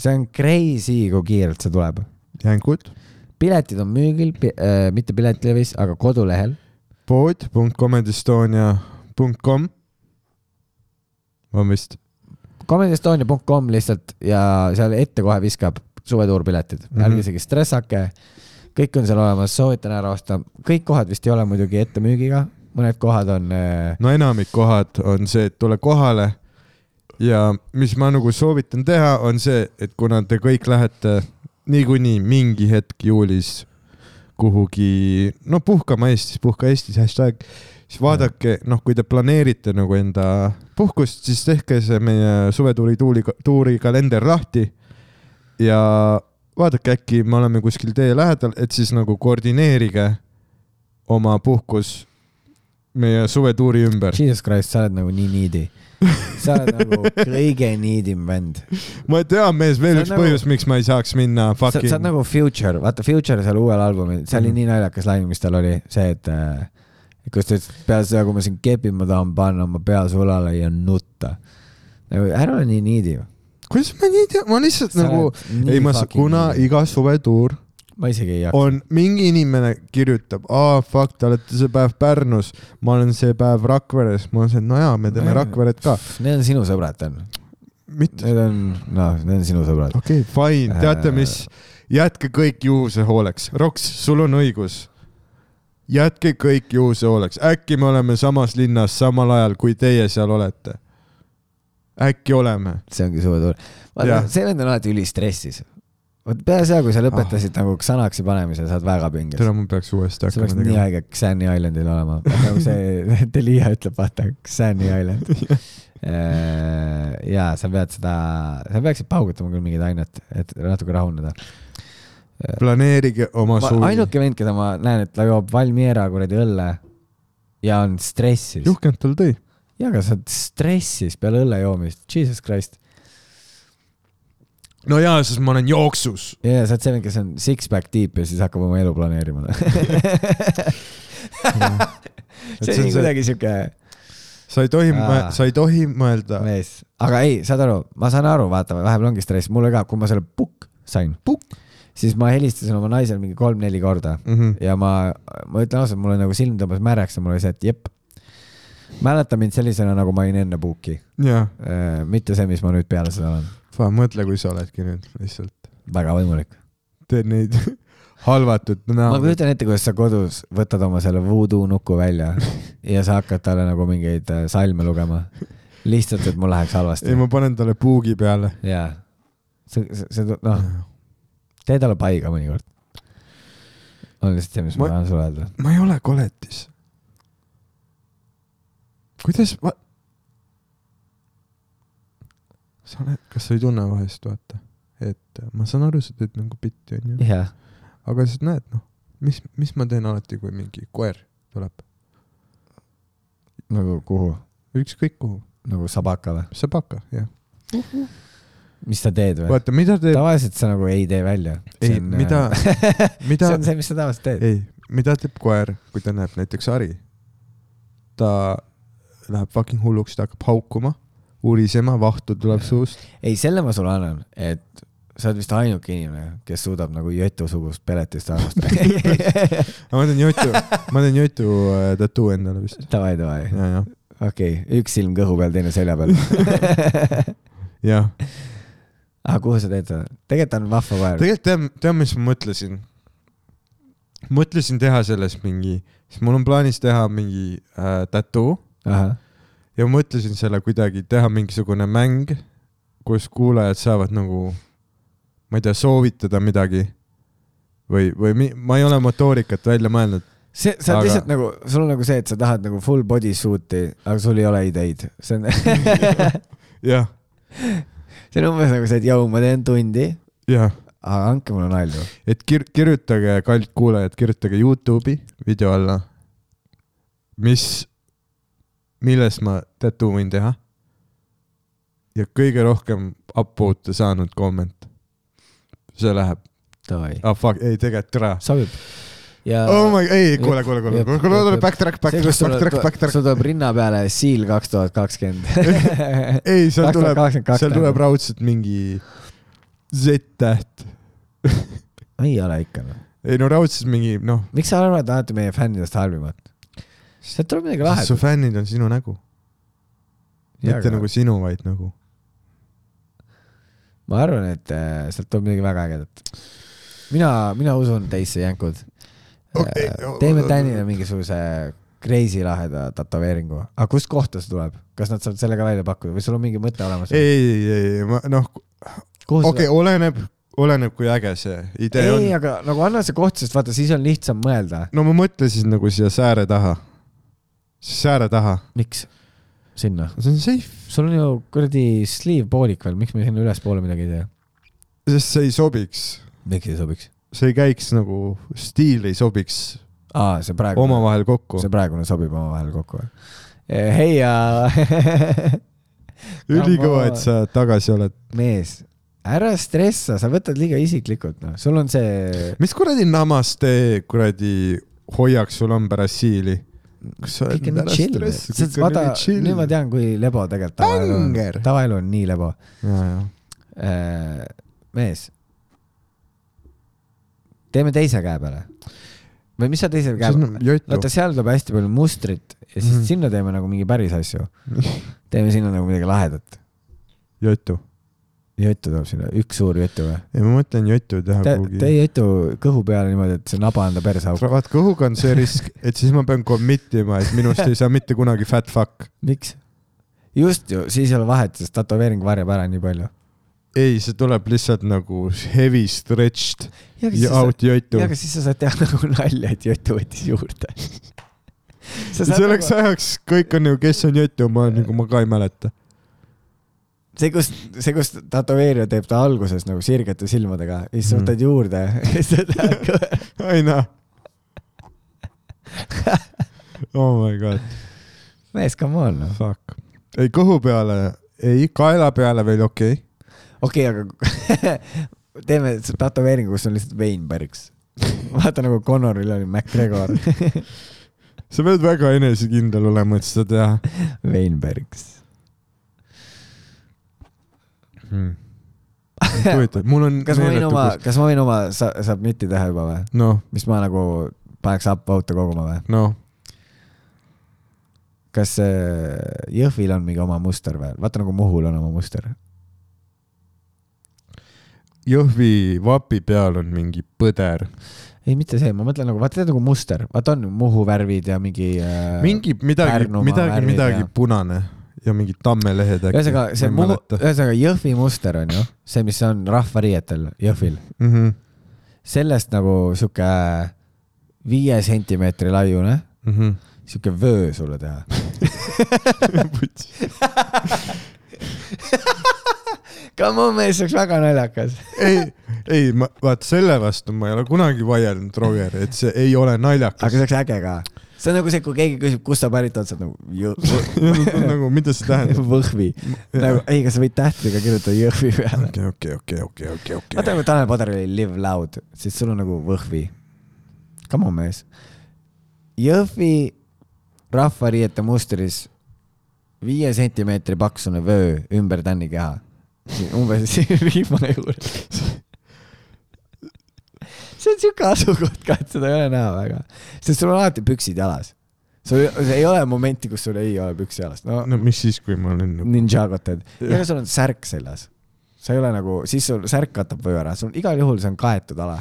see on crazy , kui kiirelt see tuleb . jäängud . piletid on müügil pi, , äh, mitte Piletilevis , aga kodulehel . pood.comedystonia.com on vist . comedystonia.com lihtsalt ja seal ette kohe viskab suvetuurpiletid mm , -hmm. Mhm. ärge isegi stressake . kõik on seal olemas , soovitan ära osta , kõik kohad vist ei ole muidugi ettemüügiga , mõned kohad on äh, no enamik kohad on see , et tule kohale ja mis ma nagu soovitan teha , on see , et kuna te kõik lähete niikuinii mingi hetk juulis kuhugi , no puhkama Eestis , puhka Eestis , hashtag , siis vaadake , noh , kui te planeerite nagu enda puhkust , siis tehke see meie suvetuuri tuuli , tuurikalender lahti ja vaadake , äkki me oleme kuskil tee lähedal , et siis nagu koordineerige oma puhkus meie suvetuuri ümber . Jesus Christ , sa oled nagu nii needy . sa oled nagu kõige needim vend . ma tean , mees , See veel on üks nagu- põhjus , miks ma ei saaks minna sa fucking sa oled . nagu Future , vaata Future seal uuel albumil , see oli Mhm. nii naljakas laine , mis tal oli , see , et äh, kus ta ütles , et peale seda , kui ma siin kepin , ma tahan panna oma pea sulale ja nutta . nagu ära ole nii needy . kuidas ma nii tean , ma lihtsalt sa nagu , ei ma , kuna iga suvetuur ma isegi ei jaksa . on , mingi inimene kirjutab , aa fuck , te olete see päev Pärnus , ma olen see päev Rakveres , ma olen see , no jaa , me teeme Nojah. Rakveret ka . Need on sinu sõbrad , Tõnu . mitte , Need on , noh , need on sinu sõbrad . okei okay, , fine , Äh. teate mis , jätke kõik juhuse hooleks , Roks , sul on õigus jätke kõik juhuse hooleks , äkki me oleme samas linnas samal ajal , kui teie seal olete . äkki oleme . see ongi suve tuul . vaata Jah. , see vend on alati ülistressis . vot peale seda , kui sa Ah. lõpetasid nagu Xanaxi panemise , sa oled väga pinges . täna ma peaks uuesti see peaks hakkama nii tegema . haige Xani Islandil olema . nagu see Delia ütleb , vaata , Xani Island . ja sa pead seda , sa peaksid paugutama küll mingit ainet , et natuke rahuneda . planeerige oma ma , suvi . ainuke vend , keda ma näen , et ta joob Valmiera kuradi õlle ja on stressis . juhkend tal tõi . jaa , aga sa oled stressis peale õlle joomist , jesus christ . no jaa , sest ma olen jooksus . ja , ja sa oled see vend , kes on six-pack deep ja siis hakkab oma elu planeerima . see see on oli see- kuidagi siuke , sa ei tohi Aa. , sa ei tohi mõelda . mees , aga ei , saad aru , ma saan aru , vaata , vahepeal ongi stress , mulle ka , kui ma selle pukk sain , siis ma helistasin oma naisele mingi kolm-neli korda Mm. Mhm. ja ma , ma ütlen ausalt , mulle nagu silm tõmbas märjaks ja mul oli see , et jep . mäleta mind sellisena , nagu ma olin enne puuki , jah , mitte see , mis ma nüüd peale seda olen . mõtle , kui sa oledki nüüd lihtsalt , väga võimalik . teed neid halvatud ma näo . kujutan ette , kuidas sa kodus võtad oma selle voodoo nuku välja ja sa hakkad talle nagu mingeid äh, salme lugema . lihtsalt , et mul läheks halvasti ei ,. ma panen talle puugi peale . jaa . see , see , see , noh , tee talle pai ka mõnikord . on lihtsalt see , mis ma Ma- tahan sulle öelda . ma ei ole koletis . kuidas ma ? sa oled , kas sa ei tunne vahest , vaata , et ma saan aru , sa teed nagu bitti , onju , jah , aga siis näed , noh , mis , mis ma teen alati , kui mingi koer tuleb , nagu kuhu , ükskõik kuhu , nagu sabakale , sabaka , jah . mis sa teed või ? vaata , mida teeb , tavaliselt sa nagu ei tee välja . ei , mida , mida see on see , mis sa tavaliselt teed . ei , mida teeb koer , kui ta näeb näiteks hari ? ta läheb fucking hulluks , ta hakkab haukuma , urisema , vahtu tuleb suust . ei , selle ma sulle annan , et sa oled vist ainuke inimene , kes suudab nagu Jõtu-sugust peletist arvestada . ma teen jutu , ma teen jutu äh, tattoo endale vist . Davai , davai , ja , ja , okei , üks silm kõhu peal , teine selja peal . ja aga kuhu sa teed seda ? tegelikult on vahva koer . tegelikult tead , tead , mis ma mõtlesin ? mõtlesin teha sellest mingi , sest mul on plaanis teha mingi äh, tattoo ahah , ja ma mõtlesin selle kuidagi teha mingisugune mäng , kus kuulajad saavad nagu , ma ei tea , soovitada midagi või , või mi, ma ei ole motoorikat välja mõelnud . see , sa oled Aga- lihtsalt nagu , sul on nagu see , et sa tahad nagu full body suit'i , aga sul ei ole ideid . see on , jah , see on umbes nagu see , et jõu , ma teen tundi , jah , aga andke mulle nalju . et kir- , kirjutage , kallid kuulajad , kirjutage Youtube'i video alla , mis , milles ma tattoo võin teha . ja kõige rohkem upvote saanud komment . see läheb , Davai , ah fuck , ei tegelikult tere sobib . ja oh my , ei , kuule , kuule , kuule , jep, kuule , kuule , jep, kuule , jep. see , backtrack , kus backtrack , sul backtrack , tuleb , backtrack . sul tuleb rinna peale Seal kaks tuhat kakskümmend . ei , seal tuleb , kakskümmend seal tuleb . raudselt mingi Z-täht . ei ole ikka noh . ei no raudselt mingi , noh , miks sa arvad alati meie fännidest halvimat ? sealt tuleb midagi su lahedat . fännid on sinu nägu . mitte nagu sinu , vaid nagu . ma arvan , et äh, sealt tuleb midagi väga ägedat . mina , mina usun teisse , jänkud Okei, Äh, no- teeme Tänile mingisuguse crazy laheda tätoveeringu , aga kust kohta see tuleb , kas nad saavad selle ka välja pakkuda või sul on mingi mõte olemas ? ei , ei , ei , ei , ma noh , okei okay, , oleneb , oleneb , kui äge see idee ei , on . aga nagu anna see koht , sest vaata , siis on lihtsam mõelda . no ma mõtlesin nagu siia sääre taha . sääre taha , miks ? sinna . see on safe , sul on ju kuradi sleeve poolik veel , miks me sinna ülespoole midagi ei tee ? sest see ei sobiks , miks ei sobiks ? see ei käiks nagu , stiil ei sobiks aa , see praegu . omavahel kokku . see praegune sobib omavahel kokku või ? hei ja ülikõva , Jama. et sa tagasi oled . mees , ära stressa , sa võtad liiga isiklikult , noh , sul on see , mis kuradi namaste kuradi hoiak sul on pärast siili ? kas sa oled kõik on nüüd nii ära chill , stress , kõik on vaata nii , chill . nüüd ma tean , kui lebo tegelikult tavaelu on Banger! , tavaelu on nii lebo . tean . mees , teeme teise käe peale või mis sa teise käe peale , vaata jotu . seal tuleb hästi palju mustrit ja siis Mhm. sinna teeme nagu mingi päris asju . teeme sinna nagu midagi lahedat . jotu . jutu tuleb sinna , üks suur jutu või ? ei , ma mõtlen jotu teha Te , Nagu kuhugi teie jutu kõhu peale niimoodi , et see naba anda persauku . vaat kõhuga on see risk , et siis ma pean commit ima , et minust ei saa mitte kunagi fat fuck . miks ? just ju , siis ei ole vahet , sest tätoveering varjab ära nii palju . ei , see tuleb lihtsalt nagu heavy stretched ja ja out jotu . aga siis sa saad teha nagu nalja , et jutu võttis juurde . nagu selleks ajaks kõik on ju , kes on jotu , ma olen nagu , ma ka ei mäleta . see , kus , see , kus tätoveerija teeb ta alguses nagu sirgete silmadega ja siis sa Mhm. võtad juurde ja siis sa tahad . aina . Oh my god . mees , come on noh . Fuck . ei , kõhu peale , ei kaela peale veel okei okei , okay. . aga teeme s- tätoveeringu , kus on lihtsalt vein päriks . vaata nagu Connoril oli MacGregor . sa pead väga enesekindel olema , et seda teha Veinbergs . hmm. . huvitav , mul on . kas ma võin oma , kas ma võin oma sa- , submit'i teha juba või ? noh , mis ma nagu paneks upvote'e koguma või ? noh , kas äh, Jõhvil on mingi oma muster või ? vaata nagu Muhul on oma muster . Jõhvi vapi peal on mingi põder , ei , mitte see , ma mõtlen nagu , vaata tead nagu muster , vaata on ju Muhu värvid ja mingi äh, mingi midagi , Pärnumaa midagi , värvid midagi ja- punane ja mingid tammelehed äkki . ühesõnaga , see Muhu , ühesõnaga Jõhvi muster on ju , see , mis on rahvariietel Jõhvil , mm . -hmm. sellest nagu sihuke viie sentimeetri laiune Mm -hmm. sihuke vöö sulle teha . ka mu meelest see oleks väga naljakas . ei , ei , ma , vaat selle vastu ma ei ole kunagi vaielnud , Roger , et see ei ole aga naljakas see . oleks äge ka . see on nagu see , kui keegi küsib , kust sa pärit oled , sa oled nagu Jõ- nagu , mida see tähendab ? Võhvi . nagu , ei , kas sa võid tähtedega kirjutada Jõhvi peale ? okei , okei , okei , okei , okei , vaata okei . nagu Tanel Padaril oli Live Loud , siis sul on nagu Võhvi . Come on , mees . Jõhvi rahvariiete mustris viie sentimeetri paksune vöö ümber Tänni keha . umbes siin rihma juures . see on siuke asukoht ka , et seda ei ole näha väga , sest sul on alati püksid jalas . sul see ei ole momenti , kus sul ei ole püksi jalas . no Ah, no mis siis , kui ma olen nagu ninjago teed . Jah. ja sul on särk seljas . sa ei ole nagu , siis sul särk katab vöö ära , sul igal juhul see on kaetud ala .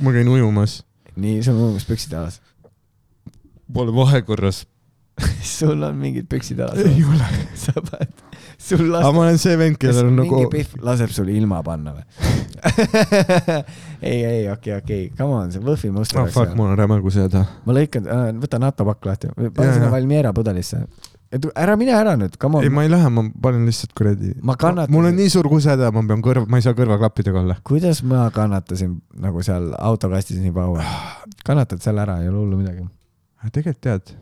ma käin ujumas , nii , sul on umbes püksid jalas . pole vahekorras . sul on mingid püksid ei jalas . ole . sa paned , sul aga laseb , ma olen see vend , kas kellel on nagu mingi , pihv laseb sul ilma panna või ? ei , ei , okei , okei , come on , see Võhvi muster ah fuck , mul on räme kui seda . ma lõikan , võta NATO pakk lahti , pane Jaa, sinna jaa. Valmiera pudelisse . ära mine ära nüüd , come ei , on , ma ei lähe , ma panen lihtsalt kuradi . Ma kannatan- mul on nii suur kuseda , ma pean kõrv , ma ei saa kõrvaklappidega olla . kuidas ma kannatasin nagu seal autokastis nii kaua ? Ah. kannatad selle ära , ei ole hullu midagi . aga tegelikult tead ,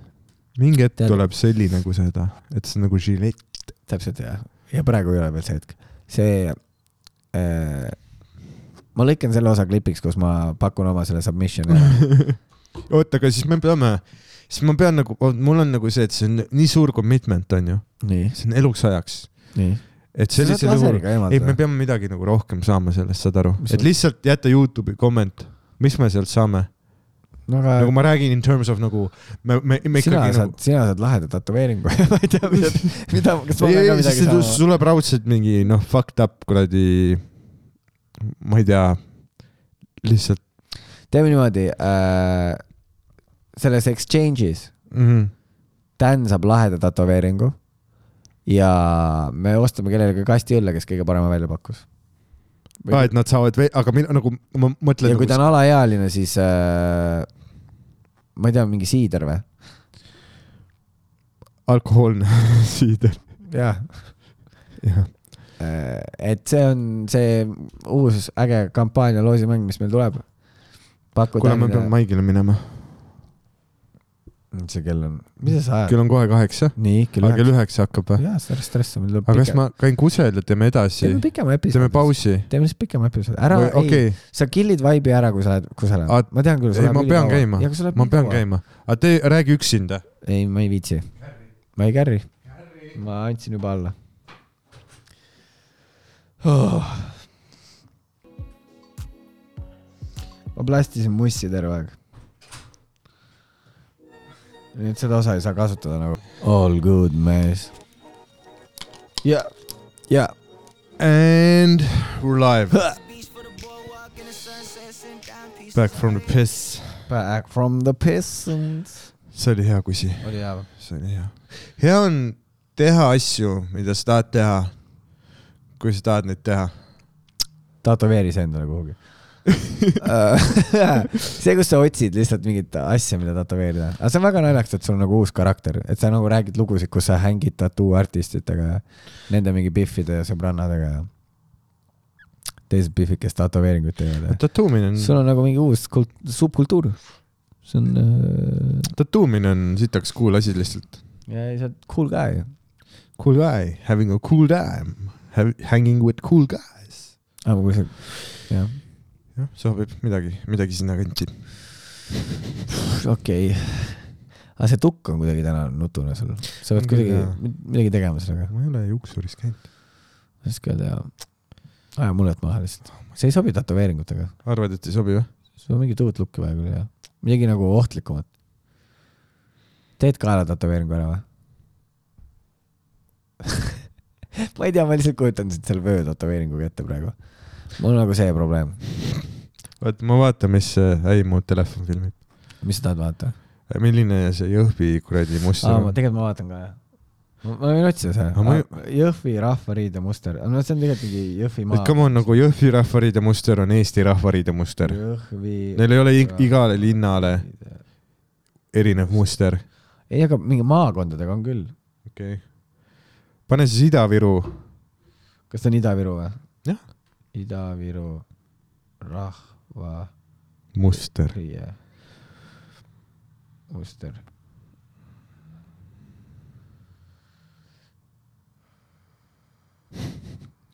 mingi hetk Tead- tuleb selline kuseda , et see on nagu žilett . täpselt jah , ja praegu ei ole veel see hetk . see äh, , ma lõikan selle osa klipiks , kus ma pakun oma selle submission'i Mhm. ära . oota , aga siis me peame , siis ma pean nagu , mul on nagu see , et see on nii suur commitment onju , nii , see on eluks ajaks , nii . et sellisel juhul , ei , me peame midagi nagu rohkem saama sellest , saad aru , Mis et on- lihtsalt jätta Youtube'i komment , mis me sealt saame , no aga nagu ma räägin in terms of nagu me , me , me Äh. sina ikkagi saad nagu ,, sina saad laheda tätoveeringu ja ma ei tea , mida , mida , kas ma pean ei , ka ei , midagi siis see saama ? tuleb raudselt mingi noh , fucked up kuradi , ma ei tea , lihtsalt teeme niimoodi äh, , selles exchange'is mm . Mhm. -hmm. Dan saab laheda tätoveeringu ja me ostame kellelegi kasti õlle , kes kõige parema välja pakkus . aa , et nad saavad , aga mina nagu , ma mõtlen ja kui ta nagu, , on alaealine , siis äh, ma ei tea , mingi siider või ? alkohoolne siider , jah . jah . Äh, et see on see uus äge kampaania loosimäng , mis meil tuleb . pakud kuule , ma pean . Maigile minema . mis Mm, see kell on ? mis sa ajad ? kell on kohe kaheksa . nii , kell aga üheksa . kell üheksa hakkab või ? jaa , stress , stress on meil tuleb aga kas ma käin kusel ja teeme edasi teeme ? pikema episoodi . teeme . pausi . teeme siis pikema episoodi . ära , ei okay. , okei , sa kill'id vaibi ära , kui sa oled , kui sa Aa, oled . ma tean küll , sul ei ma pean käima ja kui sul , läheb ma pean . käima . aga te räägi üksinda . ei , ma ei viitsi . ma ei kärri . ma andsin juba alla oh. . ma plastisin mussi terve aeg . nüüd seda osa ei saa kasutada nagu . All good , mees . ja , ja . And we are live . Back from the piss . Back from the peasants . see oli hea kusi , oli hea või ? see oli hea . hea on teha asju , mida sa tahad teha . kui sa tahad neid teha . tätoveeri see endale kuhugi see , kus sa otsid lihtsalt mingit asja , mida tätoveerida , aga see on väga naljakas , et sul on nagu uus karakter , et sa nagu räägid lugusid , kus sa hängid tattooartistitega ja nende mingi biffide ja sõbrannadega ja teised biffid , kes tätoveeringuid teevad ja tattooimine on , sul on nagu mingi uus kult- , subkultuur . see on äh... , tattooimine on sitaks cool asi lihtsalt . ja ei, sa oled cool guy ju . Cool guy , having a cool time , hanging with cool guys . aga kui sa , jah , jah , sobib midagi , midagi sinnakanti . okei okay. . aga see tukk on kuidagi täna nutune sul . sa pead On küll, kuidagi jaa. mid- midagi tegema sellega . ma ei ole juuksuris käinud . ma ei oska öelda jah . aja mullet maha lihtsalt . see ei sobi tätoveeringutega . arvad , et ei sobi või ? sul on mingit uut lukki vaja küll jah . midagi nagu ohtlikumat . teed kaela tätoveeringu ära või ? ma ei tea , ma lihtsalt kujutan sind selle vöö tätoveeringuga ette praegu . mul on nagu see probleem . vaat ma vaatan , mis äh, see äi mu telefon filmib . mis sa tahad vaadata ? Äh, milline see Jõhvi kuradi muster aa , ma on ? tegelikult ma vaatan ka jah . ma ma võin otsida Aga ma selle . Jõhvi rahvariide muster , no see on tegelikult mingi Jõhvi et maa . come on , nagu Jõhvi rahvariide muster on Eesti rahvariide muster . Jõhvi . Neil ei ole ig- igale linnale erinev muster . ei , aga mingi maakondadega on küll . okei okay. . pane siis Ida-Viru . kas ta on Ida-Viru või ? Jah. . Ida-Viru rahvariie muster . muster .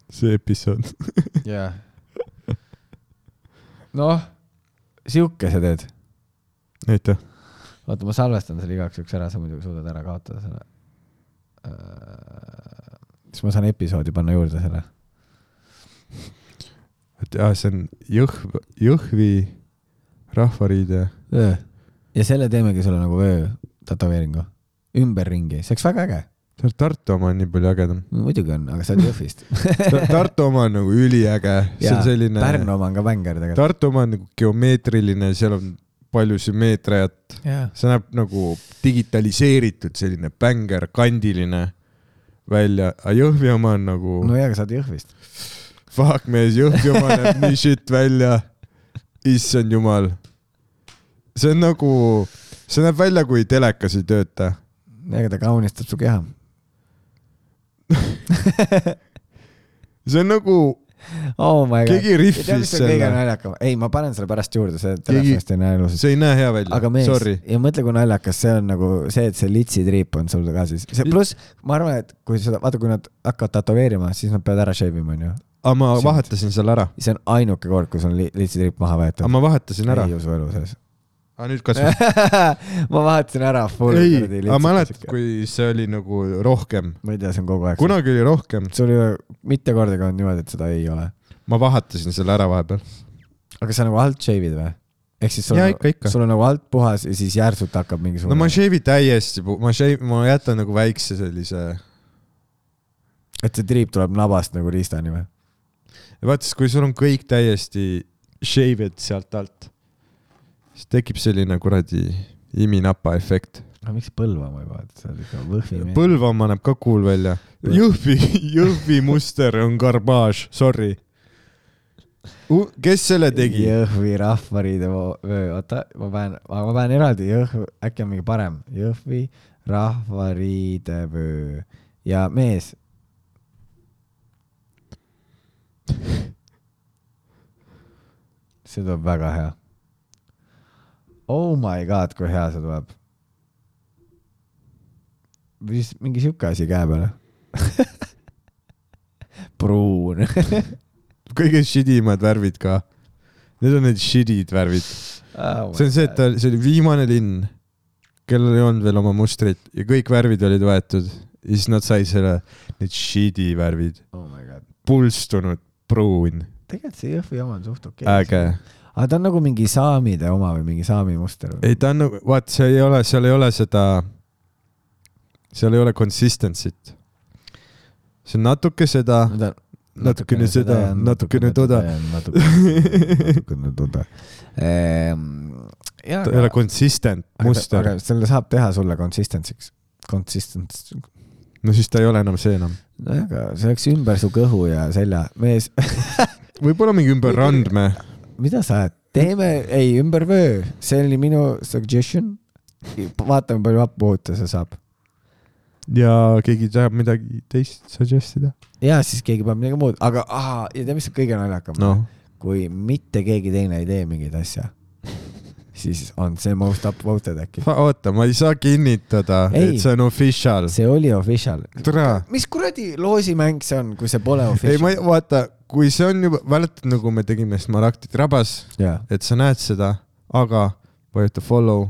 see episood . jah . noh , sihuke sa teed . aitäh . oota , ma salvestan selle igaks juhuks ära , sa muidugi suudad ära kaotada selle Äh, siis ma saan episoodi panna juurde selle . et jah , see on Jõhv , Jõhvi rahvariide . vöö . ja selle teemegi sulle nagu vöö tätoveeringu . ümberringi , see oleks väga äge . Tartu oma on nii palju ägedam . muidugi on , aga sa oled Jõhvist . Tartu oma on nagu üliäge , see on selline . Pärnu oma on ka bängar tegelikult . Tartu oma on nagu geomeetriline , seal on palju sümmeetriat , jaa . see näeb nagu digitaliseeritud selline bängar , kandiline välja , aga Jõhvi oma on nagu no jaa , aga sa oled Jõhvist . fuck mees , Jõhvi oma näeb nii shit välja . issand jumal . see on nagu , see näeb välja , kui telekas ei tööta . ega ta kaunistab su keha . see on nagu , oh my god . Keegi riffis selle . kõige selle. naljakam , ei , ma panen selle pärast juurde , see Keegi- telefonist ei näe ilusasti . see ei näe hea välja aga , mees sorry ., ja mõtle , kui naljakas see on nagu see , et see litsitriip on sul ka siis , see pluss , ma arvan , et kui seda , vaata , kui nad hakkavad tätoveerima , siis nad peavad ära shave ima , onju . aga ma See- vahetasin selle ära , see on ainuke kord , kus on li- litsitriip maha aga võetud . ma vahetasin ära ei . usu elu sees . aga nüüd kasvab . ma vahetasin ära . ei , aga mäletad ,? kui see oli nagu rohkem ? ma ei tea , see on kogu aeg . kunagi oli rohkem , sul ei ole mitte kordagi olnud niimoodi , et seda ei ole . ma vahetasin selle ära vahepeal . aga sa nagu alt shave'id või ? ehk siis sul Jaa, on ikka, ikka. sul on nagu alt puhas ja siis järsult hakkab no mingisugune ma ei shave'i täiesti , ma shave , ma jätan nagu väikse sellise , et see triip tuleb nabast nagu riistani või ? vaata siis , kui sul on kõik täiesti shave'id sealt alt , siis tekib selline kuradi iminapa efekt . aga miks Põlvamaa juba , et sa oled ikka Võhvi mees . Põlvamaa näeb ka cool välja . Jõhvi , Jõhvi muster on garbaaž , sorry . kes selle tegi ? Jõhvi rahvariide vo- vöö , oota , ma panen , ma panen eraldi Jõhv , äkki on mingi parem , Jõhvi rahvariide vöö ja mees . see tuleb väga hea . Oh my god , kui hea see tuleb . vist mingi sihuke asi käe peale . pruun kõige shitty mad värvid ka . Need on need shitty'd värvid . oh see on see , et ta , see oli viimane linn , kellel ei olnud veel oma mustrit ja kõik värvid olid võetud ja siis nad sai selle , need shitty värvid , oh my god , pulstunud pruun , tegelikult see Jõhvi oma on suht okei äge . aga ta on nagu mingi saamide oma või mingi saami muster või ? ei , ta on nagu , vaat see ei ole , seal ei ole seda , seal ei ole consistency't . see on natuke seda , ah, natukene seda, natukene toda. . natukene toda . jaa , ta ei ole aga , consistent muster aga , selle saab teha sulle consistent'iks , consistent'iks . no siis ta ei ole enam see enam . nojah , aga see oleks ümber su kõhu ja selja , mees , võib-olla mingi ümber randme , mida sa ajad , teeme , ei ümber vöö , see oli minu suggestion . vaatame , palju happuhuta see saab . ja keegi tahab midagi teist suggest ida . ja siis keegi paneb midagi muud , aga ahaa , ja tead , mis on kõige naljakam ? noh , kui mitte keegi teine ei tee mingit asja , siis on see most upvoted äkki . oota , ma ei saa kinnitada , Ei. et see on official . see oli official . tere , mis kuradi loosimäng see on , kui see pole ei ma ei official ? vaata , kui see on juba , mäletad nagu me tegime Smaragdi trabas , jaa , et sa näed seda , aga vajuta follow ,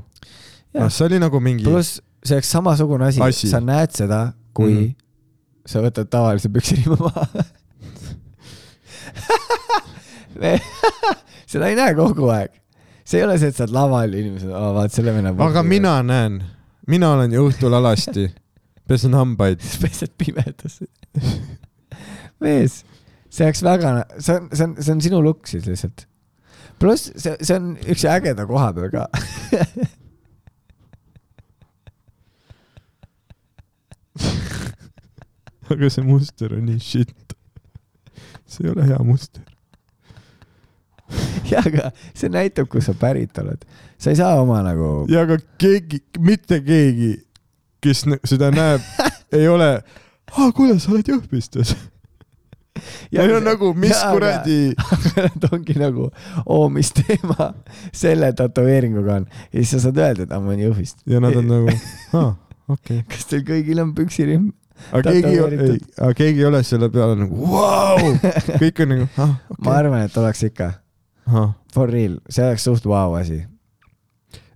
ah, see oli nagu mingi Plus... pluss see oleks samasugune asi, Asi. sa näed seda , kui mm Mhm. -hmm. sa võtad tavalise püksirihma maha Me... . seda ei näe kogu aeg . see ei ole see , et sa oled laval ja inimesed , aa vaat selle venna . aga . mina näen , mina olen ju õhtul alasti , pesen hambaid . siis pesed pimedasse . mees , see oleks väga , see on , see on , see on sinu lukk siis lihtsalt . pluss see , see on üks ägeda koha peal ka . aga see muster on nii shit . see ei ole hea muster . jaa , aga see näitab , kust sa pärit oled . sa ei saa oma nagu , ja aga keegi , mitte keegi , kes nä- seda näeb , ei ole , aa kuule , sa oled Jõhvistes . Jaa, ja ei aga ole see- nagu , mis jaa, aga- kuradi , et ongi nagu , oo , mis teema selle tatoveeringuga on . ja siis sa saad öelda , et aa , ma olen Jõhvist . ja nad on nagu , aa , okei . kas teil kõigil on püksirihm ? aga keegi ei ole , ei Tätoveeritud. , aga keegi ei ole selle peale nagu vau , kõik on nagu , ah , ma okei , arvan , et oleks ikka . ahah . For real , see oleks suht vau asi .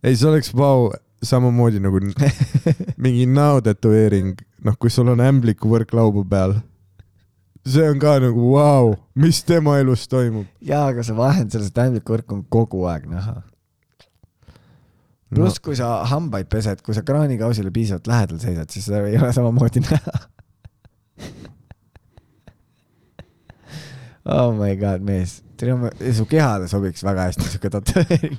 ei , see oleks vau , samamoodi nagu n- mingi näotätoveering , noh , kui sul on ämblikuvõrk lauba peal . see on ka nagu vau , mis tema elus toimub . jaa , aga see vahend selles tähendikkurk on kogu aeg näha . pluss , kui sa hambaid pesed , kui sa kraanikausile piisavalt lähedal seisad , siis seda ei ole samamoodi näha . Oh my god , mees , teil on , su kehale sobiks väga hästi siuke tätoveering .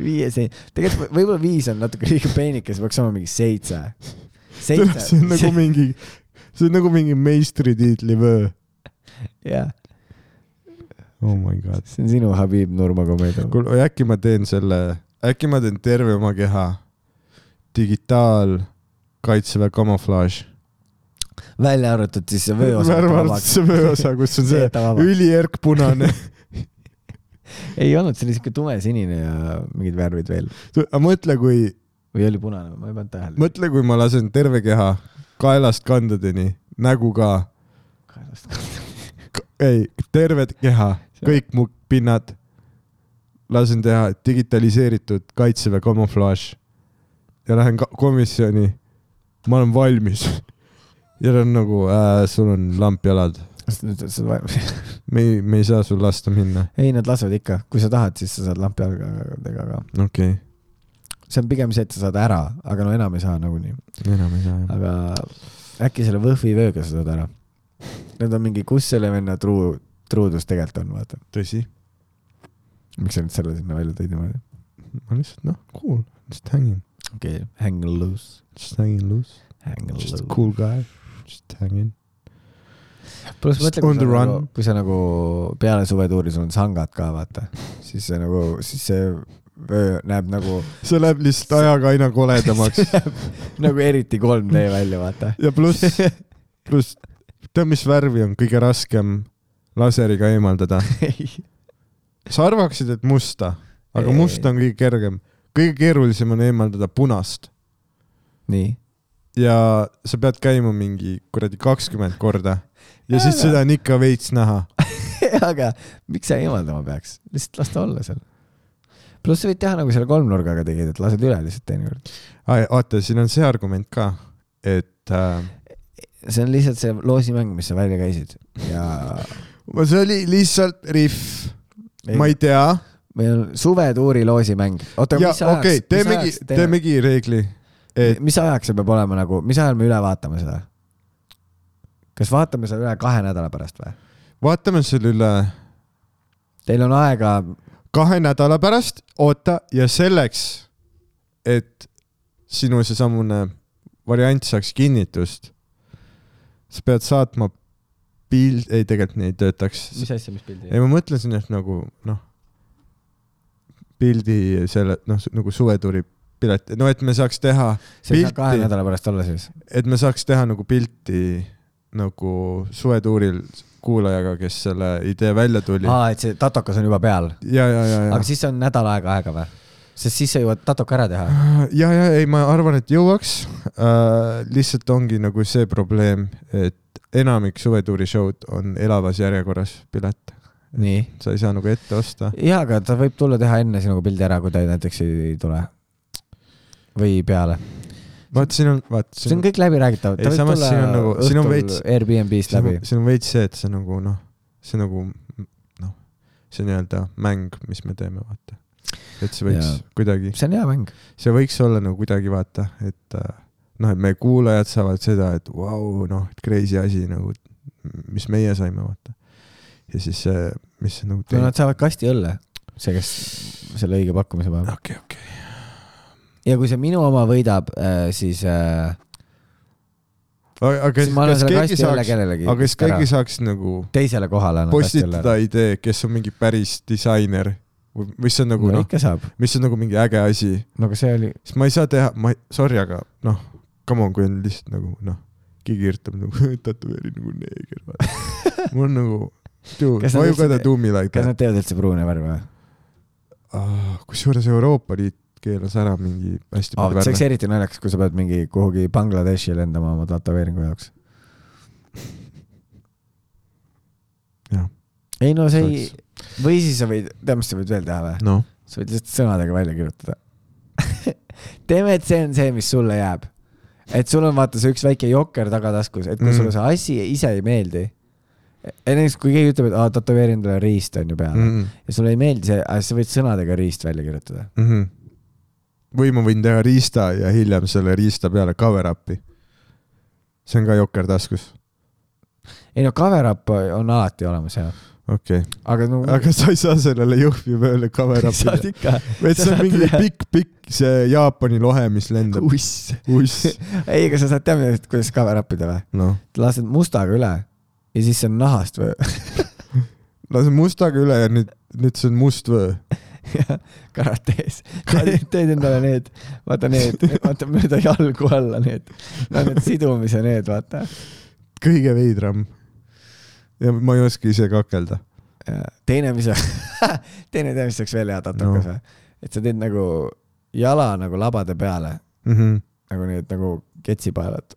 viie sein- , tegelikult võ- võib-olla viis on natuke liiga peenike , see peaks olema mingi seitse . Tead, see on nagu seitse , mingi , see on nagu mingi meistritiitli vöö . jah , oh my god . see on sinu Habib Nurmagomedov . kuule , äkki ma teen selle , äkki ma teen terve oma keha digitaal kaitseväe kamuflaaž . välja arvatud siis see vööosa . värv arvates see vööosa , kus on see jäta vabaks. üliärk punane . ei olnud , see oli siuke tumesinine ja mingid värvid veel aga mõtle , kui , või oli punane , ma ei pannud tähele . mõtle , kui ma lasen terve keha kaelast kandadeni , nägu ka , ei , terve keha , kõik mu pinnad lasen teha digitaliseeritud kaitseväe kamuflaaž ja lähen ka- komisjoni . ma olen valmis ja ta on nagu äh, , sul on lamp jalad , me ei , me ei saa sul lasta minna . ei , nad lasevad ikka , kui sa tahad , siis sa saad lampi jalgadega ka . okei see on pigem see , et sa saad ära , aga no enam ei saa nagunii . okay. , enam ei saa jah . aga äkki selle võhvivööga sa saad ära . Need on mingi , kus selle venna truu , truudus tegelikult on , vaata . tõsi , miks sa nüüd selle sinna välja tõid niimoodi ? ma lihtsalt noh , cool , lihtsalt hängin , okei okay. , hang loose . just hängin loose , Hang just loose a . cool guy , just hängin . pluss Just mõtle , kui on the sa nagu run. , kui sa nagu peale suvetuuri , sul on sangad ka , vaata , siis see nagu , siis see vöö näeb nagu , see läheb lihtsalt ajaga aina koledamaks nagu eriti 3D välja , vaata . ja pluss , pluss , tead , mis värvi on kõige raskem laseriga eemaldada ? sa arvaksid , et musta , aga Ei. must on kõige kergem . kõige keerulisem on eemaldada punast nii . ja sa pead käima mingi kuradi kakskümmend korda ja siis seda on ikka veits näha . aga miks sa eemaldama peaks , lihtsalt las ta olla seal . pluss sa võid teha nagu selle kolmnurgaga tegid , et lased üle lihtsalt teinekord . vaata , siin on see argument ka , et äh, see on lihtsalt see loosimäng , mis sa välja käisid ja ma- see oli lihtsalt rihv , ma ei tea . meil on suvetuuri loosimäng . oota , ja mis ajaks okei , mis teemegi ajaks , teeme- teemegi reegli , et mis ajaks see peab olema nagu , mis ajal me üle vaatame seda ? kas vaatame selle üle kahe nädala pärast või ? vaatame selle üle Teil on aega , kahe nädala pärast , oota ja selleks , et sinu seesamune variant saaks kinnitust , sa pead saatma pild , ei tegelikult nii ei töötaks . mis asja , mis pildi ? ei , ma mõtlesin , et nagu noh , pildi selle noh , nagu suvetuuri pilet , no et me saaks teha , see ei saa kahe pilti. nädala pärast olla siis . et me saaks teha nagu pilti nagu suvetuuril kuulajaga , kes selle idee välja tuli . aa , et see tatokas on juba peal , ja , ja , ja , ja aga . siis on nädal aega aega või ? sest siis sa jõuad tatoka ära teha . ja , ja ei , ma arvan , et jõuaks äh, . lihtsalt ongi nagu see probleem , et enamik suvetuuri show'd on elavas järjekorras pilet , nii . sa ei saa nagu ette osta . jaa , aga ta võib tulla teha enne sinuga pildi ära , kui ta näiteks ei tule . või peale . vaat siin on , vaat see on siin , kõik läbiräägitav . Ei, samas siin on nagu- siin on veits- Airbnb-st siin läbi on- . siin on veits see , et see nagu noh , see nagu noh , see nii-öelda mäng , mis me teeme , vaata . et see võiks Jaa. kuidagi , see on hea mäng . see võiks olla nagu kuidagi vaata , et äh, noh , et meie kuulajad saavad seda , et vau wow, , noh , et crazy asi nagu , mis meie saime , vaata . ja siis see , mis see nagu no teeb nad . saavad kasti õlle , see , kes selle õige pakkumise paneb . okei , okei . ja kui see minu oma võidab , siis äh, aga kas, kas, ma annan kas selle keegi kasti õlle saaks , kellelegi . aga kas keegi saaks nagu teisele kohale annan kasti õlle . postitada idee , kes on mingi päris disainer või mis on nagu no noh , ikka saab . mis on nagu mingi äge asi , no aga see oli , siis ma ei saa teha , ma ei , sorry , aga noh , come on , kui on lihtsalt nagu noh , keegi kirjutab nagu tätoveerin nagu neeger , vaata . mul on nagu , dude , Kas nad why you lihtsalt- gotta do me like kas that nad teevad üldse pruune värve või ? ah, ? kusjuures Euroopa Liit keelas ära mingi hästi Oh, palju see oleks värve . eriti naljakas , kui sa pead mingi kuhugi Bangladeshi lendama oma tätoveeringu jaoks . Jah. ei no see ei , või siis sa võid , tead , mis sa võid veel teha või ? noh , sa võid lihtsalt sõnadega välja kirjutada . teeme , et see on see , mis sulle jääb . et sul on vaata see üks väike jokker tagataskus , et kui Mm. mm. sulle see asi ise ei meeldi . näiteks kui keegi ütleb , et aa , tätoveerin talle riist on ju peale mm. ja sulle ei meeldi see , siis sa võid sõnadega riist välja kirjutada . või ma võin teha riista ja hiljem selle riista peale cover up'i . see on ka jokker taskus , ei no cover up on alati olemas jah , okei okay. . aga no aga sa ei saa sellele Jõhvi peale cover up'i saad ikka et see Sa on saad mingi teha- pikk-pikk see Jaapani lohe , mis lendab . uss . uiss . ei , aga sa saad teada , kuidas cover up ida või ? noh , lased mustaga üle ja siis see on nahast või lase mustaga üle ja nüüd , nüüd see on must vöö . karates . teed endale need , vaata need , vaata mööda jalgu alla need , no need sidumise need , vaata . kõige veidram . ja ma ei oska ise kakelda . teine , mis , teine tead , mis oleks veel hea tatokas või No. no. ? et sa teed nagu jala nagu labade peale , Mhm. nagu need nagu ketsipaelad .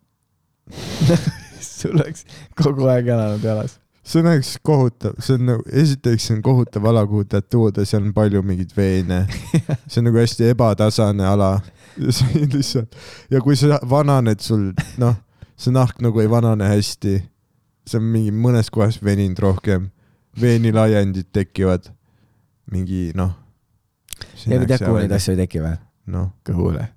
sul oleks kogu aeg jalanud jalas . see on üks kohutav , see on nagu , esiteks see on kohutav ala , kuhu tatuoda , seal on palju mingeid veene . see on nagu hästi ebatasane ala . lihtsalt , ja kui sa vananed , sul noh , see nahk nagu ei vanane hästi . see on mingi mõnes kohas veninud rohkem , veenilaiendid tekivad , mingi noh . ja tead , kuhu neid asju ei teki või ? noh , kõhule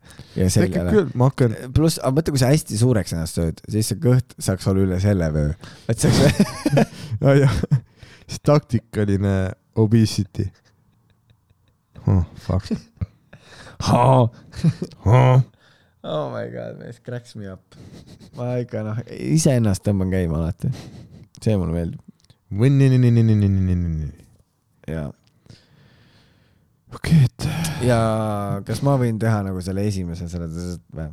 ja tekib seljale . küll , ma hakkan , pluss , aga mõtle , kui sa hästi suureks ennast sööd , siis see kõht saaks olla üle selle vöö . et see oleks jah , see taktikaline obesity . Oh, fuck . oh, . Oh. oh my god , mees , cracks me up . ma ikka noh , iseennast tõmban käima alati . see mulle meeldib . Võnni-ni-ni-ni-ni-ni-ni-ni-ni. ja , okei , et ja kas ma võin teha nagu selle esimese selle tõsest või ?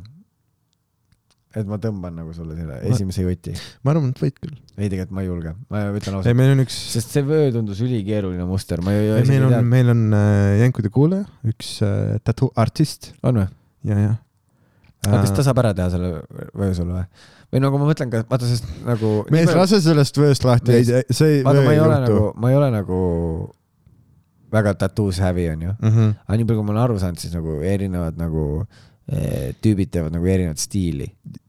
et ma tõmban nagu sulle selle esimese joti . ma arvan , et võid küll . ei , tegelikult ma ei julge , ma ütlen ei , ausalt , meil on üks , sest see vöö tundus ülikeeruline muster , ma ju meil on , meil on äh, Jänkude kuulaja , üks äh, tattoo-artist on või ? ja , ja . aga kas ta saab ära teha selle vöö sul või ? või nagu ma mõtlen , vaata , sest nagu . mees , lase sellest vööst lahti , Mees- ei , see ei . vaata , ma ei ole nagu , ma ei ole nagu väga tattoos hävi , onju . nagu . aga nii palju , kui ma olen aru saanud , siis nagu erinevad nagu eh, tüübid teevad nagu erinevat stiili ,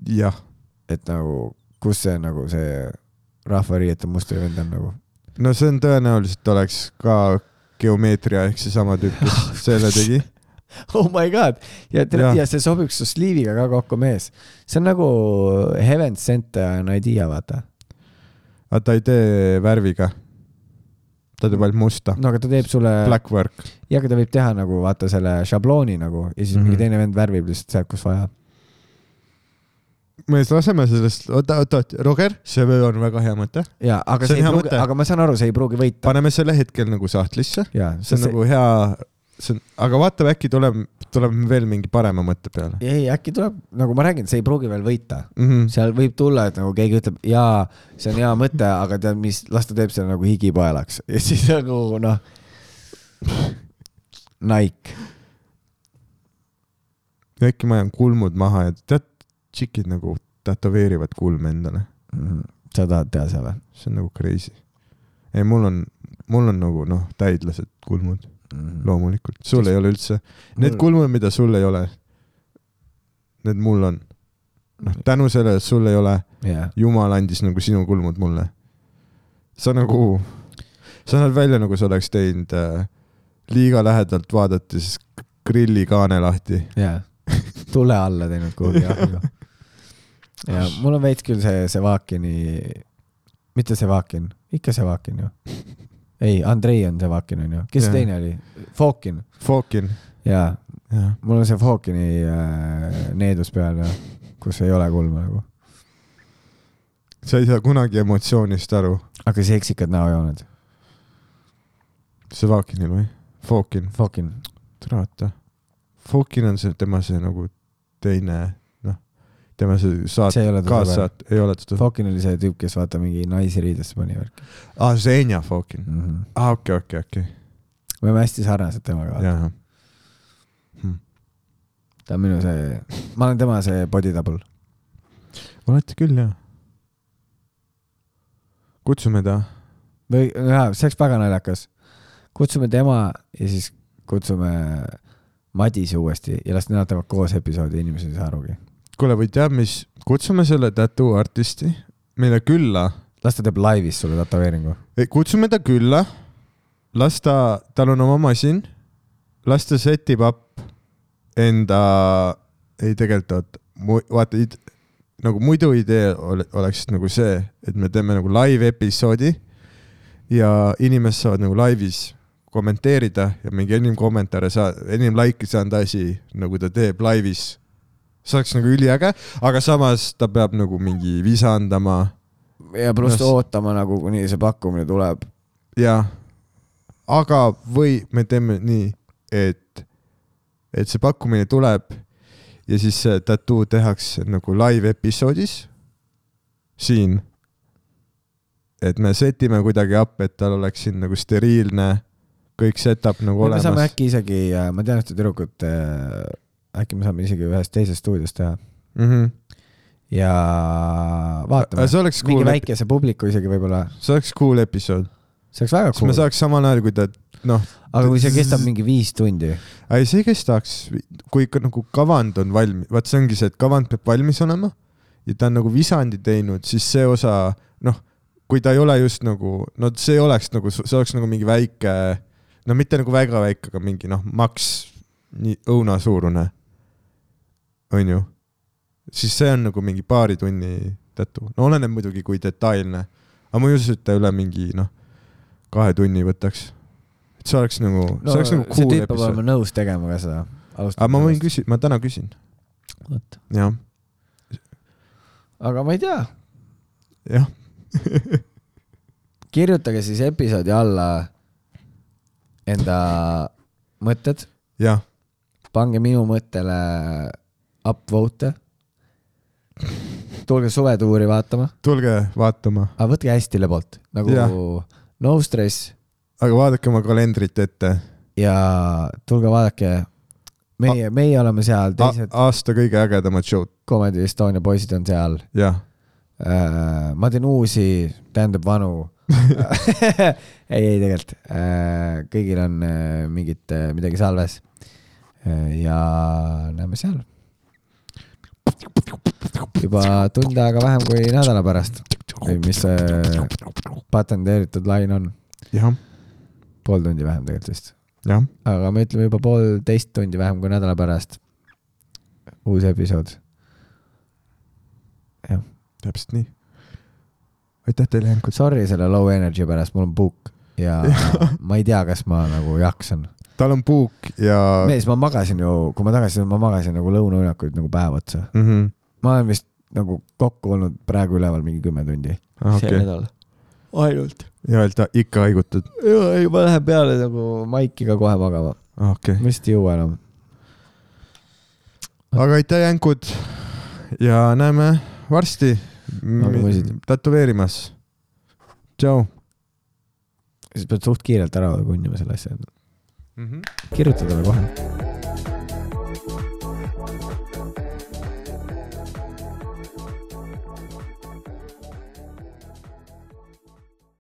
jah , et nagu kus see nagu see rahvariiete mustrivend on nagu . no see on tõenäoliselt oleks ka geomeetria ehk seesama tüüp , kes Ah, selle tegi . Oh my god ja , Jah. ja see sobiks su sliiviga ka kokku , mees . see on nagu Heaven Sent an idea , vaata . aga ta ei tee värviga . ta teeb ainult musta . no aga ta teeb sulle , Black work . ja aga ta võib teha nagu vaata selle šablooni nagu ja siis mm -hmm. Mhm. mingi teine vend värvib lihtsalt sealt , kus vaja . mees , laseme sellest , oota , oota , Roger , see vöö on väga hea mõte . ja , aga See on see, see hea ei pruugi , mõte. aga ma saan aru , see ei pruugi võita . paneme selle hetkel nagu sahtlisse ja , see on see... nagu hea , see on , aga vaatame , äkki tuleb , tuleb veel mingi parema mõtte peale . ei , äkki tuleb , nagu ma räägin , see ei pruugi veel võita . Mm -hmm. seal võib tulla , et nagu keegi ütleb , jaa , see on hea mõte , aga tead mis , las ta teeb selle nagu higipaelaks ja siis nagu noh . Nike , äkki ma jään kulmud maha ja tead , tšikid nagu tätoveerivad kulme endale , sa tahad teha seda see on nagu crazy . ei , mul on , mul on nagu noh , täidlased kulmud , või ? loomulikult , sul ei ole üldse , need Mul- kulmud , mida sul ei ole , need mul on . noh , tänu sellele , et sul ei ole , jaa . jumal andis nagu sinu kulmud mulle . sa nagu , sa näed välja nagu sa oleks teinud äh, liiga lähedalt vaadates grillikaane lahti . jaa , tule alla teinud kuhugi ahju . ja mul on veits küll see Sevakini , mitte Sevakin , ikka Sevakin ju . ei , Andrei on Sevakin onju , kes Jah. ja. teine oli ? Fokin , Fokin , jaa , jah . mul on see Fokini äh, needus peal ja kus ei ole kulma nagu , sa ei saa kunagi emotsioonist aru . aga seksikad näojooned , Sevakinil või ? Fokin , Fokin , tere vaata . Fokin on see , tema see nagu teine , noh , tema see saat- , see ei ole ta sõber . kaassaat- , ei ole teda . Fokin oli see tüüp , kes vaata mingi naisi riidesse pani värki aa , see Enja Fokin . mm . -hmm. aa , Ah, okei , okei , okei . me oleme hästi sarnased temaga , vaata . jaa . ta on minu see , ma olen tema see body double . olete küll , jah . kutsume ta . või jaa , see oleks väga naljakas . kutsume tema ja siis kutsume Madise uuesti ja las nad teevad koos episoodi , inimesed ei saa arugi . kuule , või tead mis , kutsume selle tattoo artisti meile külla , las ta teeb laivis sulle tätoveeringu . kutsume ta külla , las ta , tal on oma masin , las ta setib up enda , ei tegelikult oota , vaata id, nagu muidu idee ole, oleks nagu see , et me teeme nagu live episoodi ja inimesed saavad nagu laivis kommenteerida ja mingi enim kommentaare saa- , enim likei saanud asi , nagu ta teeb laivis , see oleks nagu üliäge , aga samas ta peab nagu mingi visa andama ja pluss Las- no, ootama nagu , kuni see pakkumine tuleb . jah , aga , või me teeme nii , et , et see pakkumine tuleb ja siis see tattoo tehakse nagu live episoodis siin . et me setime kuidagi up , et tal oleks siin nagu steriilne kõik setup nagu me saame olemas . äkki isegi , ma tean ühte tüdrukut , äkki me saame isegi ühes teises stuudios teha Mm ja vaatame -hmm. . see oleks mingi cool , väikese publiku isegi võib-olla , see oleks cool episood , see oleks väga siis me cool . saaks samal ajal , kui ta , noh , aga kui see kestab mingi viis tundi , ei see kestaks , kui ikka nagu kavand on valmis , vaat see ongi see , et kavand peab valmis olema ja ta on nagu visandi teinud , siis see osa , noh , kui ta ei ole just nagu , no see oleks nagu , see oleks nagu mingi väike , no mitte nagu väga väike , aga mingi noh , maks nii õunasuurune , onju . siis see on nagu mingi paari tunni tätu , no oleneb muidugi , kui detailne , aga ma ei usu , et ta üle mingi noh , kahe tunni võtaks . et see oleks nagu no, , see oleks nagu see cool tüüp peab episood olema . nõus tegema ka seda . aga ma võin küsida , ma täna küsin . Vot. jah , aga ma ei tea , jah . kirjutage siis episoodi alla enda mõtted , jah , pange minu mõttele upvote . tulge suvetuuri vaatama , tulge vaatama , aga võtke hästi lebalt nagu Jah. no stress aga vaadake oma kalendrit ette . ja tulge vaadake meie , meie oleme seal , teised aasta kõige ägedamad show'd , Comedy Estonia poisid on seal . jah . Äh, ma teen uusi , tähendab vanu . ei , ei tegelikult , kõigil on äh, mingit , midagi salves . ja näeme seal . juba tund aega vähem kui nädala pärast , mis see patenteeritud lain on , jah , pool tundi vähem tegelikult vist , jah , aga me ütleme juba poolteist tundi vähem kui nädala pärast . uus episood , täpselt nii . aitäh teile , Henk , sorry selle low energy pärast , mul on puuk ja ma ei tea , kas ma nagu jaksan . tal on puuk ja mees , ma magasin ju , kui ma tagasi tulin , ma magasin nagu lõunaõunakuid nagu päev otsa . mm . -hmm. ma olen vist nagu kokku olnud praegu üleval mingi kümme tundi . Ah, okei , nädal . ainult . ja et ta ikka haigutad , ei , ma lähen peale nagu Maikiga kohe magama . Ah, okei ma okay. , vist ei jõua enam . aga aitäh , Henkud ja näeme varsti Olge poisid. tätoveerimas . tšau siis pead suht kiirelt ära kunnima selle asja . mm . -hmm. kirjuta talle kohe .